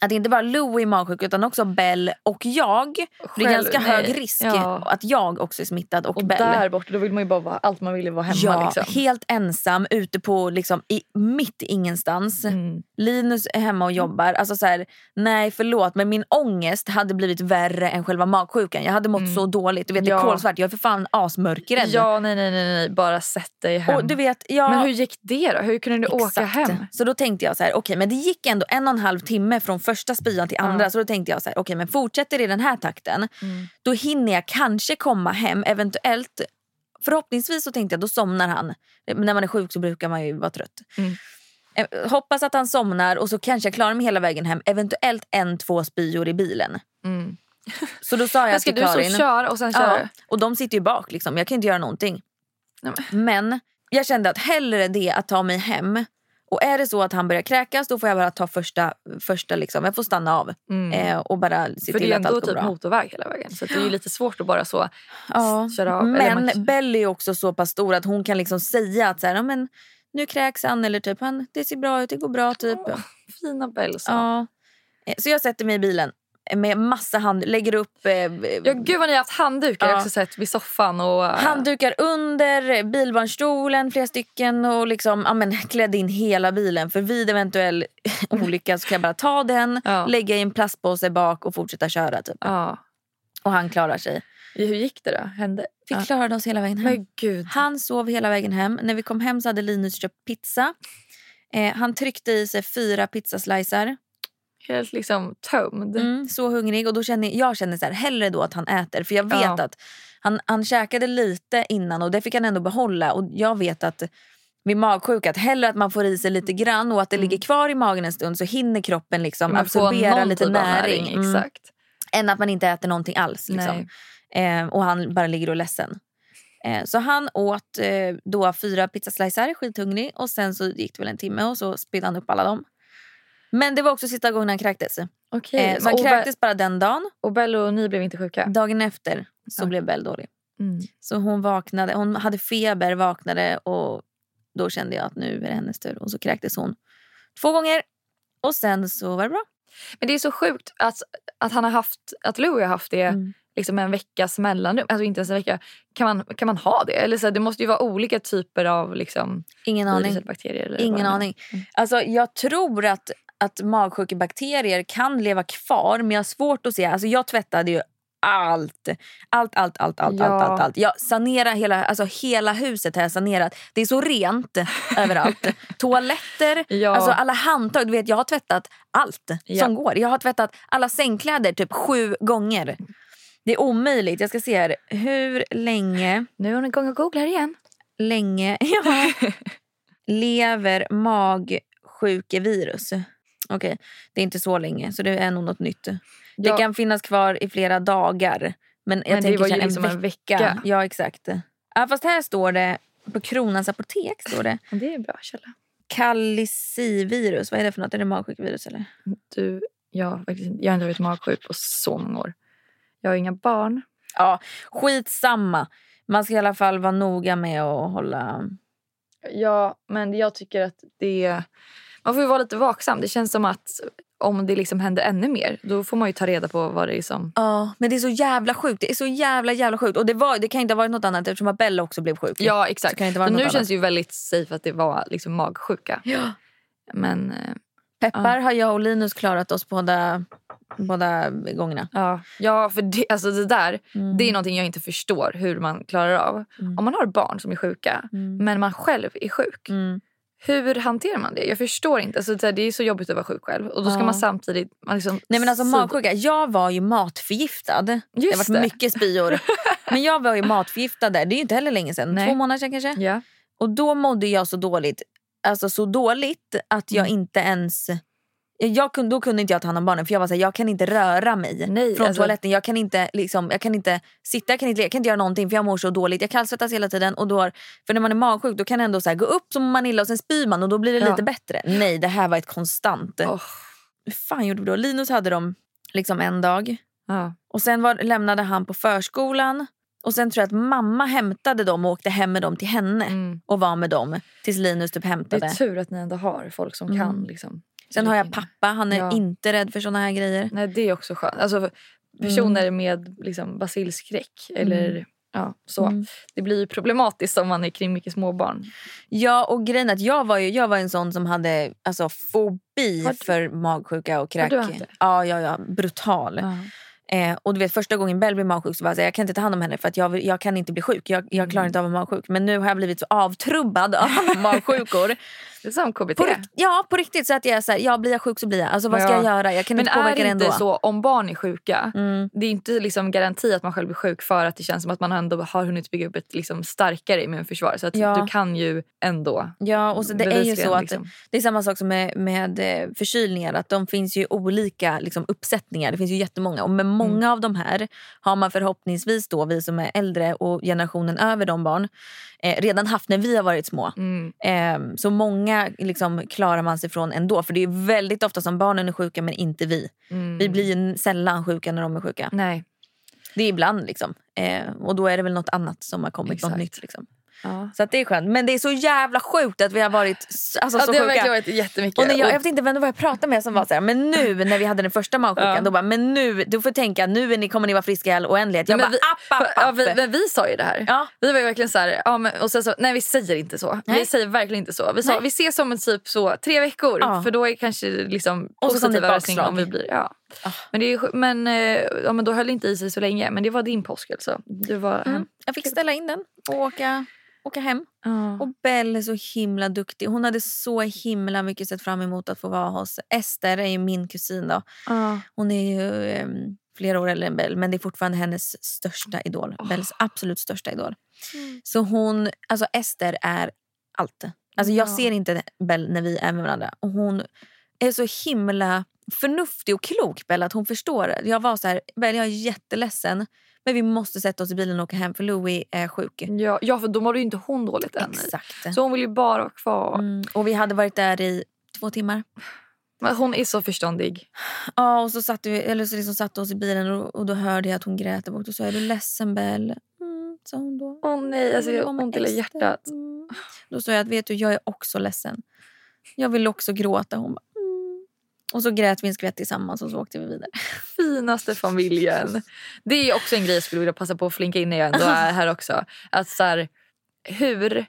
att inte bara Lou är magsjuk utan också Bell och jag. det är
Själv,
ganska
nej.
hög risk
Ja.
att jag också är smittad och,
Och
Bell.
där borta, då vill man ju bara vara allt man vill är vara hemma.
ja,
liksom.
helt ensam ute på liksom, i, mitt i ingenstans.
Mm.
Linus är hemma och jobbar. Alltså så här, nej förlåt men min ångest hade blivit värre än själva magsjukan. Jag hade mått så dåligt. Du vet det är
Ja.
kolsvart. Jag är för fan asmörkrädd.
Ja, nej, nej, nej, nej, bara sätt dig hem.
Och du vet, jag...
Men hur gick det då? Hur kunde du åka
Exakt.
hem?
Så då tänkte jag så här, okej men det gick ändå en och en halv timme från första spyan till andra. Så då tänkte jag så här, okej men fortsätter det i den här takten
Mm.
då hinner jag kanske komma hem eventuellt. Förhoppningsvis så tänkte jag då somnar han. Men När man är sjuk så brukar man ju vara trött.
Mm.
Eh, Hoppas att han somnar och så kanske jag klarar mig hela vägen hem. Eventuellt en, två spyor i bilen.
Mm.
Så då sa jag
Men ska
till
du så
Karin.
köra och sen köra?
Ja, och de sitter ju bak. Liksom. Jag kan inte göra någonting.
Nej,
Men jag kände att hellre det att ta mig hem. Och är det så att han börjar kräkas då får jag bara ta första... första liksom. Jag får stanna av
Mm.
eh, och bara se
För det är
till
ju
att
ändå
allt går
typ
bra.
motorväg hela vägen. Så att det är ju lite svårt att bara så
Ja.
köra av. eller
Men
man-
Belly är också så pass stor att hon kan liksom säga att så här, "Ja, men, nu kräks han eller typ han, det ser bra ut, det går bra. typ.
Åh, Fina Bell sa.
ja. Eh, Så jag sätter mig i bilen eh, med massa hand, lägger upp eh,
Ja, gud vad ni har haft handdukar. Jag
Ja.
har också sett vid soffan. Och, eh,
Handdukar under bilbarnstolen, flera stycken och liksom, ja, men, klädde in hela bilen. För vid eventuell olycka så kan jag bara ta den,
Ja.
lägga i en plastpåse bak och fortsätta köra. Typ.
ja.
Och han klarar sig.
Hur gick det då? Hände?
Vi
Ja.
klarade oss hela vägen hem.
Men gud.
Han sov hela vägen hem. När vi kom hem så hade Linus köpt pizza. Eh, han tryckte i sig fyra pizzaslicer.
Helt liksom tömd.
Mm, så hungrig. Och då känner, jag känner så här, hellre då att han äter. För jag vet
Ja.
att han, han käkade lite innan och det fick han ändå behålla. Och jag vet att vid magsjuka, att hellre att man får i sig lite
Mm.
grann och att det ligger kvar i magen en stund så hinner kroppen liksom
Man får
absorbera
någon
lite
typ av
näring. Mm.
Exakt.
Än att man inte äter någonting alls. Liksom.
Nej.
Eh, och han bara ligger och är ledsen. Eh, så han åt eh, då fyra pizzaslicer, skithungrig. Och sen så gick det väl en timme och så spillde han upp alla dem. Men det var också sista gången han kräktes.
Okej.
Eh, så han
och, Be-
kräktes bara den dagen.
och Bell och ni blev inte sjuka?
Dagen efter så
Ja.
blev Bell dålig.
Mm.
Så hon vaknade, hon hade feber, vaknade och då kände jag att nu är det hennes tur. Och så kräktes hon två gånger. Och sen så var det bra.
Men det är så sjukt att, att, han har haft, att Louie har haft det
Mm.
liksom en veckas mellanrum. Alltså inte ens en vecka. Kan man, kan man ha det? Eller så här, det måste ju vara olika typer av liksom,
Ingen
virus
aning.
eller bakterier. Eller vad det
Ingen
nu är. Mm.
aning. Alltså, jag tror att, att magsjukebakterier kan leva kvar men jag har svårt att se. Alltså, jag tvättade ju allt. Allt, allt, allt, allt,
Ja.
allt, allt, allt. Jag sanerar hela, alltså hela huset har jag sanerat. Det är så rent överallt. Toaletter,
Ja.
alltså alla handtag. Du vet, jag har tvättat allt
Ja.
som går. Jag har tvättat alla sängkläder typ sju gånger. Det är omöjligt. Jag ska se här. Hur länge
Nu är hon igång och googlar igen.
länge ja. lever magsjukevirus. Okej, det är inte så länge, så det är nog något nytt. Det
Ja.
kan finnas kvar i flera dagar. Men jag
Men det
tänker
var ju
så här,
liksom
en
en
vecka.
vecka.
Ja, exakt. Ja, fast här står det, på Kronans apotek står det
Men Det är en bra källa.
kallicivirus. Vad är det för något? Är det magsjukevirus eller?
Du, jag, har faktiskt inte- jag har inte varit magsjuk på så många år. Jag har inga barn.
Ja, skitsamma. Man ska i alla fall vara noga med att hålla...
Ja, men jag tycker att det... Man får ju vara lite vaksam. Det känns som att om det liksom händer ännu mer, då får man ju ta reda på vad det är som...
Ja, men det är så jävla sjukt. Det är så jävla jävla sjukt. Och det, var, det kan inte ha varit något annat eftersom att Bella också blev sjuk.
Ja,
Så
exakt.
kan det inte vara
Så
något
nu
annat.
känns det ju väldigt safe att det var liksom magsjuka.
Ja.
Men eh,
Peppar har jag och Linus klarat oss båda, båda gångerna.
ja, ja för det, alltså det där
Mm.
det är någonting jag inte förstår hur man klarar av.
Mm.
Om man har barn som är sjuka,
Mm.
men man själv är sjuk.
Mm.
Hur hanterar man det? Jag förstår inte. Alltså, det här, det är så jobbigt att vara sjuk själv. Och då ska
Ja.
man samtidigt... Man liksom
Nej men alltså
sid-
magsjuka. Jag var ju matförgiftad. det har
Just
varit
det.
mycket spyor. men jag var ju matförgiftad där. Det är ju inte heller länge sedan.
Nej.
Två månader sedan kanske.
Ja.
Och då mådde jag så dåligt. Alltså så dåligt att jag inte ens... Jag kunde, då kunde inte jag ta hand om barnen för jag var såhär, jag kan inte röra mig
Nej,
från
alltså-
toaletten. Jag kan, inte, liksom, jag kan inte sitta, jag kan inte, le- jag kan inte göra någonting för jag mår så dåligt. Jag kallsvettas hela tiden. Och då har, för när man är magsjuk då kan det ändå så här, gå upp som man illa och sen spyr man och då blir det
Ja.
lite bättre. Nej, det här var ett konstant.
Åh,
Hur fan gjorde vi då? Linus hade dem liksom en dag.
ja.
Och sen var, lämnade han på förskolan. Och sen tror jag att mamma hämtade dem och åkte hem med dem till henne
Mm.
och var med dem tills Linus typ
Det
hämtade.
är tur att ni ändå har folk som
Mm.
kan. Liksom.
Sen har jag pappa, han är
Ja.
inte rädd för såna här grejer.
Nej, det är också skönt. Alltså, personer
Mm.
med liksom, basilskräck eller ja, så.
Mm.
Det blir ju problematiskt om man är kring mycket småbarn.
Ja, och grejen är att jag var ju jag var en sån som hade alltså, fobi
Har du-
för magsjuka och
Har
kräk.
du haft det?
Ja, ja, ja, brutal. Eh, och du vet första gången Bell blev magsjuk så var jag så här, jag kan inte ta hand om henne för att jag, vill, jag kan inte bli sjuk. Jag, jag
Mm.
klarar inte av att vara magsjuk. Men nu har jag blivit så avtrubbad av magsjukor.
Det är som KBT.
På, rikt- ja, på riktigt så att jag är så här, ja, blir jag sjuk så blir jag. Alltså vad ska
Ja.
jag göra? Jag kan
Men
inte påverka
är det
det
inte
ändå.
så om barn är sjuka?
Mm.
Det är inte liksom garanti att man själv blir sjuk för att det känns som att man ändå har hunnit bygga upp ett liksom starkare immunförsvar. Så att
Ja.
du kan ju ändå
Ja, och så det är ju
bevisligen,
så att
liksom.
det är samma sak som med, med eh, förkylningar. Att de finns ju olika liksom, uppsättningar. Det finns ju jättemånga. Och med många
Mm.
av de här har man förhoppningsvis då, vi som är äldre och generationen över de barn, eh, redan haft när vi har varit små.
Mm.
Ehm, så många liksom, klarar man sig från ändå. För det är väldigt ofta som barnen är sjuka men inte vi.
Mm.
Vi blir ju n- sällan sjuka när de är sjuka.
Nej.
Det är ibland liksom. Eh, och då är det väl något annat som har kommit, något
Exakt.
nytt liksom.
Ja.
Så att det är skönt. Men det är så jävla sjukt att vi har varit s- alltså,
Ja,
så
det har
sjuka.
verkligen varit jättemycket.
Och när jag,
Och-
jag vet inte vem det var jag pratade med som var så här, men nu när vi hade den första magsjukan,
Ja.
då bara, men nu, du får tänka, nu är ni, kommer ni vara friska i all oändlighet. Jag
Nej,
bara,
men vi-
app, app, app.
Ja, vi, men vi sa ju det här.
Ja.
Vi var ju verkligen så här, ja, men, och sen så, nej vi säger inte så.
Nej.
Vi säger verkligen inte så. Vi sa,
Nej.
vi ses om en typ så tre veckor
Ja.
för då är kanske liksom
Och så kom det
positiv
ett
överraskning
bakslag. Ah.
om vi blir, ja. Men, det är, ju sj- men, eh, ja, men då höll det inte i sig så länge. Men det var din påsk alltså. Du var hem.
Jag fick ställa in den och åka, åka hem.
Ja.
Och Belle är så himla duktig. Hon hade så himla mycket sett fram emot att få vara hos Ester, är ju min kusin då.
Ja.
Hon är ju ehm, flera år äldre än Bell, men det är fortfarande hennes största idol.
Åh.
Bells absolut största idol.
Mm.
Så hon, alltså Ester är allt. Alltså jag
Ja.
ser inte Bell när vi är med varandra. Och hon är så himla förnuftig och klok, Bell, att hon förstår. Jag var så här, Bell jag är jätteledsen, men vi måste sätta oss i bilen och åka hem för Louis är sjuk.
Ja, ja, för då mådde ju inte hon dåligt än.
Exakt.
Så hon vill ju bara vara kvar.
Mm. Och vi hade varit där i två timmar.
Men hon är så förståndig.
Ja, och så satt vi, eller så liksom satt oss i bilen och, och då hörde jag att hon grät där bak. Då sa jag, är du ledsen Bell? Mm, sa hon då.
Åh nej, alltså
vill
jag
vara
har
med
ont i hela
Ester.
hjärtat.
Mm. Då sa jag att vet du, jag är också ledsen. Jag vill också gråta. Hon bara, mm. Och så grät vi en skvätt tillsammans och så åkte vi vidare.
finaste familjen. Det är också en grej jag skulle vilja passa på att flinka in när jag ändå är här också. Att så här, hur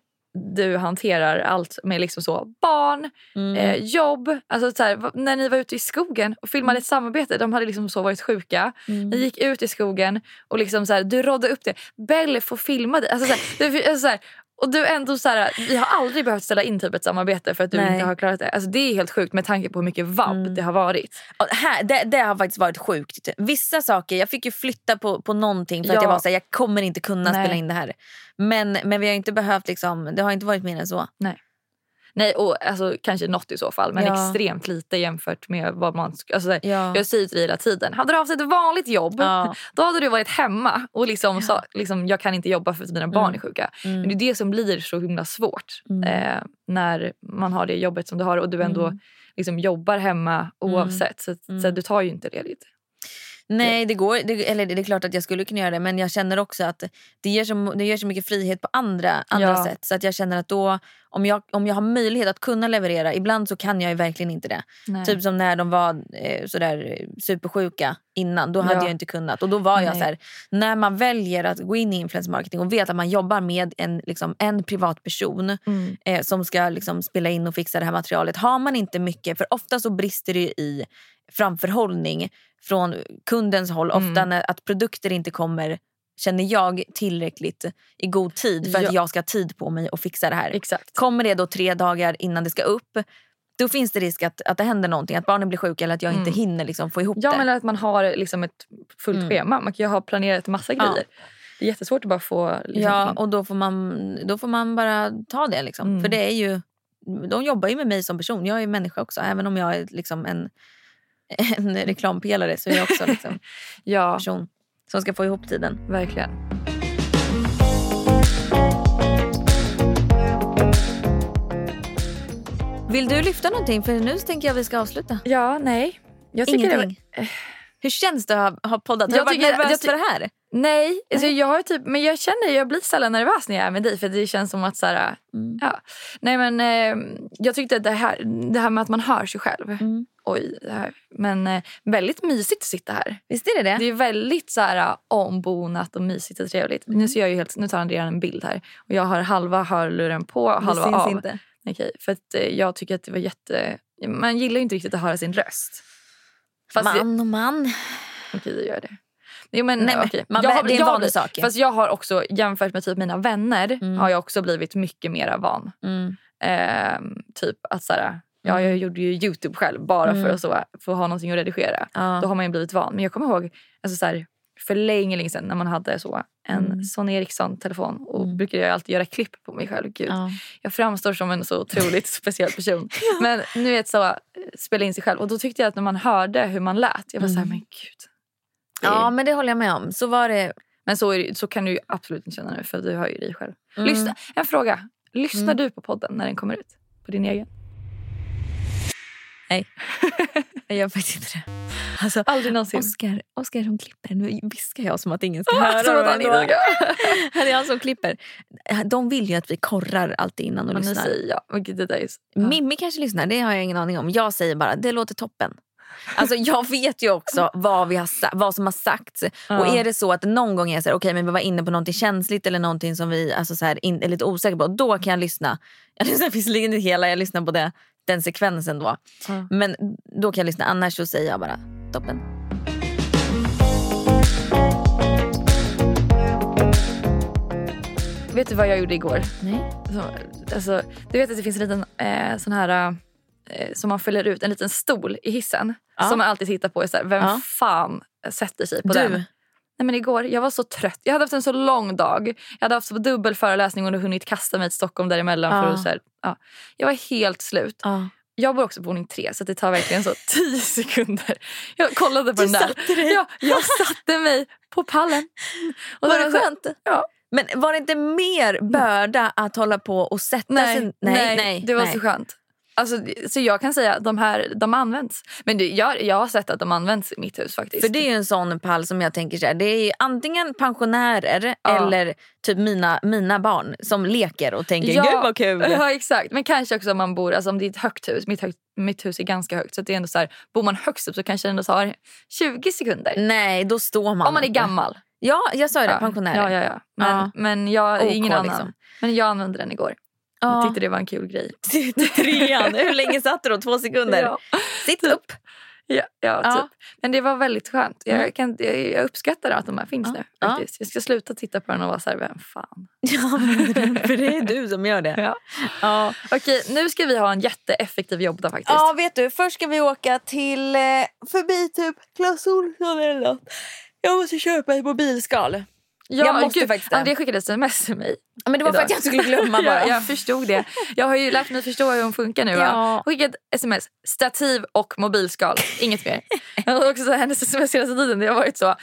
du hanterar allt med liksom så barn,
Mm.
eh, jobb. Alltså så här, va- när ni var ute i skogen och filmade ett samarbete. De hade liksom så varit sjuka.
Mm.
Ni gick ut i skogen och liksom så här, du rådde upp det. Belle får filma dig. Alltså så här, det, alltså så här, och du ändå så här, vi har aldrig behövt ställa in typ ett samarbete för att du
Nej. Mm.
inte har klarat det. Alltså det är helt sjukt med tanke på hur mycket vabb det har varit.
Och här, det, det har faktiskt varit sjukt. Vissa saker, jag fick ju flytta på, på någonting för
Ja.
att jag var så här, jag kommer inte kunna
Nej.
spela in det här. Men, men vi har inte behövt liksom, det har inte varit mer än så.
Nej, och alltså, kanske något i så fall, men
Ja.
extremt lite jämfört med vad man... sk- Alltså, så här,
Ja.
Jag säger till dig hela tiden, hade du haft ett vanligt jobb
Ja.
då hade du varit hemma och liksom, sa, liksom jag kan inte jobba för att mina barn är sjuka.
Mm.
Men det är det som blir så himla svårt
Mm.
eh, när man har det jobbet som du har och du ändå liksom, jobbar hemma
Mm.
oavsett. Så, att- så att du tar ju inte ledigt.
Nej, det går. Det, eller det det är klart att jag skulle kunna göra det men jag känner också att det ger så, det ger så mycket frihet på andra, andra
Ja.
sätt. Så att jag känner att då, om jag, om jag har möjlighet att kunna leverera, ibland så kan jag ju verkligen inte det.
Nej.
Typ som när de var eh, sådär eh, supersjuka innan, då hade
Ja.
jag inte kunnat. Och då var jag
Nej.
så när man väljer att gå in i influencer marketing och vet att man jobbar med en, liksom, en privatperson
Mm.
eh, som ska liksom, spela in och fixa det här materialet. Har man inte mycket, för ofta så brister det ju i framförhållning från kundens håll. Ofta
Mm.
när, att produkter inte kommer känner jag tillräckligt i god tid för att
Ja.
jag ska ha tid på mig att fixa det här.
Exakt.
Kommer det då tre dagar innan det ska upp då finns det risk att, att det händer någonting, att barnen blir sjuka eller att jag
Mm.
inte hinner liksom få ihop
Ja,
det.
men att man har liksom ett fullt
Mm.
schema. Man kan ju ha planerat massa
Ja.
grejer. Det är jättesvårt att bara få... Liksom,
ja, och då får, man, då får man bara ta det. Liksom.
Mm.
För det är ju, De jobbar ju med mig som person. Jag är ju människa också. Även om jag är liksom en, en reklampelare så är jag också liksom en
ja.
person som ska få ihop tiden.
Verkligen.
Vill du lyfta någonting? För nu tänker jag vi ska avsluta.
Ja, nej. Jag tycker
Ingenting. Hur känns det att ha- ha poddat? Har
Jag
jag du varit
tycker-
nervös
jag ty-
för det här?
Nej, alltså jag har typ, men jag känner jag blir sällan nervös när jag är med dig. För det känns som att så här,
Mm.
ja. Nej men eh, jag tyckte att det här, det här med att man hör sig själv.
Mm.
Oj, det här. Men eh, väldigt mysigt att sitta här.
Visst är det det?
Det är väldigt så här eh, ombonat och mysigt och trevligt.
Mm.
Nu, ser jag ju helt, nu tar Andrea en bild här. Och jag har halva hörluren på och halva
syns
av.
inte.
Okej, för att eh, jag tycker att det var jätte... Man gillar ju inte riktigt att höra sin röst. Fast jag-
Man och man.
Okej, jag gör det. Jo, men,
Nej, men
okej.
man-
jag har,
det är en
jag,
vanlig sak ju. Mm.
Fast jag har också, jämfört med typ mina vänner, har jag också blivit mycket mer van. Ehm, typ att så här,
Mm.
ja, jag gjorde ju Youtube själv bara för att så, för att ha någonting att redigera.
Ja.
Då har man ju blivit van. Men jag kommer ihåg alltså så här, för länge, länge sedan när man hade så, en
Mm.
Sony Ericsson-telefon och brukade jag alltid göra klipp på mig själv. Gud.
Ja.
Jag framstår som en så otroligt speciell person. Men nu vet så, spela in sig själv. Och då tyckte jag att när man hörde hur man lät, jag var
Mm.
så här, men gud. Det är-
ja, men det håller jag med om. Så var det.
Men så, är det, så kan du ju absolut inte känna nu för du hör ju dig själv.
Mm.
Lyssna, en fråga. Lyssnar du på podden när den kommer ut? På din egen?
Mm. Jag gör faktiskt inte det. Alltså,
Aldrig någonsin.
Oskar, Oskar som klipper. Nu viskar jag som att ingen ska höra
Typ. Ah, som
vad
att han
han
inte
gör. Det är han som klipper. De vill ju att vi korrar alltid innan och
Och nu
lyssnar.
säger jag. Men gud, det där är ju så-
Mimmi kanske lyssnar, det har jag ingen aning om. Jag säger bara, det låter toppen. Alltså jag vet ju också vad, vi har, sa- vad som har sagts. Och är det så att någon gång är jag så här, okej men vi var inne på någonting känsligt eller någonting som vi alltså så här, in, är lite osäkra på. Då kan jag lyssna. Jag lyssnar visserligen inte hela, jag lyssnar på det, den sekvensen då.
Ja.
Men då kan jag lyssna, annars så säger jag bara toppen.
Vet du vad jag gjorde igår?
Nej.
Så, alltså, du vet att det finns en liten eh, sån här eh, som man fäller ut, en liten stol i hissen. Som man alltid tittar på. Och så här, vem
Ja.
fan sätter sig på
Du.
den? Nej, men igår, jag var så trött. Jag hade haft en så lång dag. Jag hade haft så dubbel föreläsning och hunnit kasta mig till Stockholm däremellan. För
Ja.
att, så här, ja. Jag var helt slut.
Ja.
Jag bor också på våning tre så det tar verkligen så tio sekunder. Jag kollade på
Du
den där.
satte dig.
Ja, jag satte mig på pallen. Och
Var det
sen så-
skönt?
Ja.
Men var det inte mer börda att hålla på och sätta
Mm. Nej,
sig?
nej, det var så skönt. Alltså, så jag kan säga att de här de används. Men det, jag, jag har sett att de används i mitt hus faktiskt.
För det är ju en sån pall som jag tänker så här, det är ju antingen pensionärer
Ja.
eller typ mina, mina barn som leker och tänker
Ja,
gud vad kul.
Ja, exakt. Men kanske också om man bor, alltså om det är ett högt hus. Mitt, högt, mitt hus är ganska högt. Så att det är ändå så här, bor man högst upp så kanske det ändå tar 20 sekunder.
Nej, då står man.
Om man är
inte.
gammal.
Ja, jag sa ju det,
Ja,
pensionärer.
Ja, ja, ja. Men,
Ja.
men jag är
OK,
ingen annan.
liksom.
Men jag använde den igår. Jag tyckte det var en kul grej.
Trean, hur länge satt du då? Två sekunder?
Ja. Typ.
Sitt upp.
Ja, ja,
Ja. Mm.
Typ. Men det var väldigt skönt. Jag, kan, jag, jag uppskattar att de här finns nu.
Ja.
Faktiskt. Jag ska sluta titta på den och vara så här, vem fan.
Ja, för det är du som gör det.
Ja.
Ja.
Okej, nu ska vi ha en jätteeffektiv jobbdag faktiskt.
Ja, vet du. Först ska vi åka till eh, förbi typ Clas Ohlson eller något. Jag måste köpa ett mobilskal. jag måste faktiskt det.
André skickade ett sms till mig.
Men det var för
idag.
att jag inte skulle glömma bara.
jag, jag förstod det. Jag har ju lärt mig förstå hur hon funkar nu.
Ja.
Ja. Skickat sms, stativ och mobilskal. Inget mer. Jag har också så här, hennes sms senaste tiden. Det har varit så.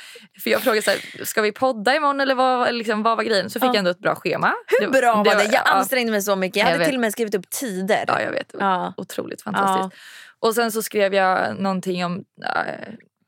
För jag frågade så här, ska vi podda imorgon eller vad, liksom, vad var grejen? Så fick jag ändå ett bra schema.
Hur bra var det? Jag
ja.
ansträngde mig så mycket. Jag
Jag
hade
vet.
till och med skrivit upp tider.
Ja, jag vet. Det var
Ja.
Otroligt fantastiskt. Och sen så skrev jag någonting om... eh,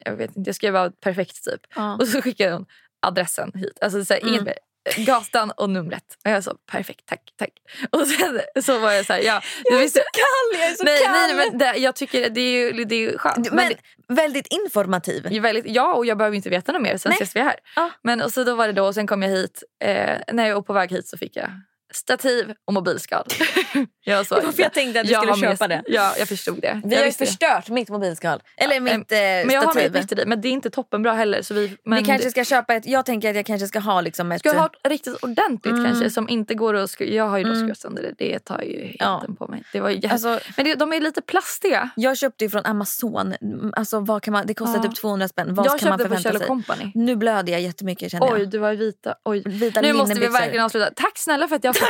jag vet inte, jag skrev bara perfekt typ.
Ja. Mm.
Och så skickade hon adressen hit. Alltså så här, inget mer. Gatan och numret. Och jag sa perfekt, tack, tack. Och sen så var jag så här, ja. Jag är så kall,
jag är så
nej,
kall.
Nej, men det, jag tycker det är ju det är ju skönt.
Du- Men, väldigt informativ.
Det är väldigt, ja, och jag behöver inte veta något mer. Sen
Nej.
ses vi här.
Ja.
Men och så då var det då, och sen kom jag hit. Eh, när jag var på väg hit så fick jag stativ och mobilskal. jag sa,
Det var för jag tänkte att du skulle
har med-
köpa det.
Ja, jag förstod det.
Vi
jag
har ju
visste det.
förstört mitt mobilskal. Eller mitt eh, stativ.
Men jag har med ett mitt i dig, men det är inte toppenbra heller. Så vi, men
vi kanske ska köpa ett, jag tänker att jag kanske ska Mm. ha liksom ett...
Ska ha ett riktigt ordentligt kanske som inte går att skru- Jag har ju då skruvat sönder det. Det tar ju
Mm. Ja.
heten på mig. Det var ju jätte-
Alltså-
men det, de är lite plastiga.
jag köpte ju från Amazon. Mm, Alltså, vad kan man, det kostar
Ja.
typ 200 spänn. Vad
jag
kan man
köpte
förvänta
på Kjell
sig?
Company.
Nu blöder jag jättemycket känner
Oj,
jag.
du var i vita. Oj.
Vita
nu måste vi
linnebyxor.
verkligen avsluta. Tack snälla för att jag fick.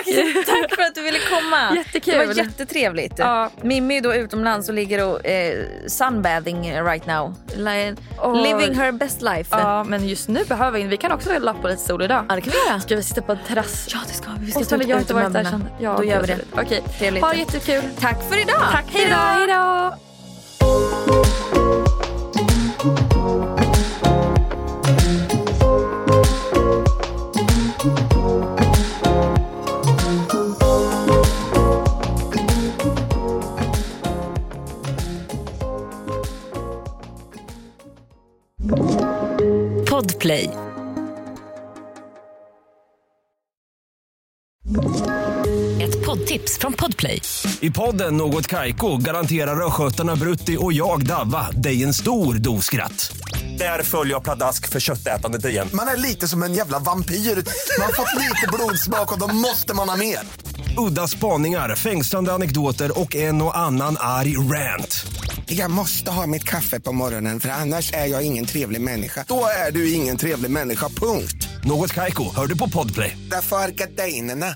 Tack för att du ville komma.
Jättekul.
Det var jättetrevligt.
Ja.
Mimmi är då utomlands och ligger och eh, sunbathing right now. Li-
Oj.
Living her best life.
ja, men just nu behöver vi in. Vi kan också lappa på lite sol idag.
Ja, det kan vi göra.
Ska vi sitta på en terrass?
Ja, det ska vi. Vi
Och
ska
så
ta
har
ut
jag inte varit där
utemöblerna.
sen. Ja,
Då gör vi det.
trevligt. Okej,
Trevligt.
ha det jättekul.
Tack för idag.
Tack för idag. Hej då.
Podplay. Ett poddtips från Podplay.
I podden Något Kaiko garanterar östgötarna Brutti och jag, Davva, dig en stor dos skratt. Där följer jag pladask för köttätandet igen.
Man är lite som en jävla vampyr. Man har fått lite blodsmak och då måste man ha mer.
Udda spaningar, fängslande anekdoter och en och annan arg rant.
Jag måste ha mitt kaffe på morgonen för annars är jag ingen trevlig människa.
Då är du ingen trevlig människa, punkt.
Något Kaiko, hör du på Podplay.
Därför arkadeinerna.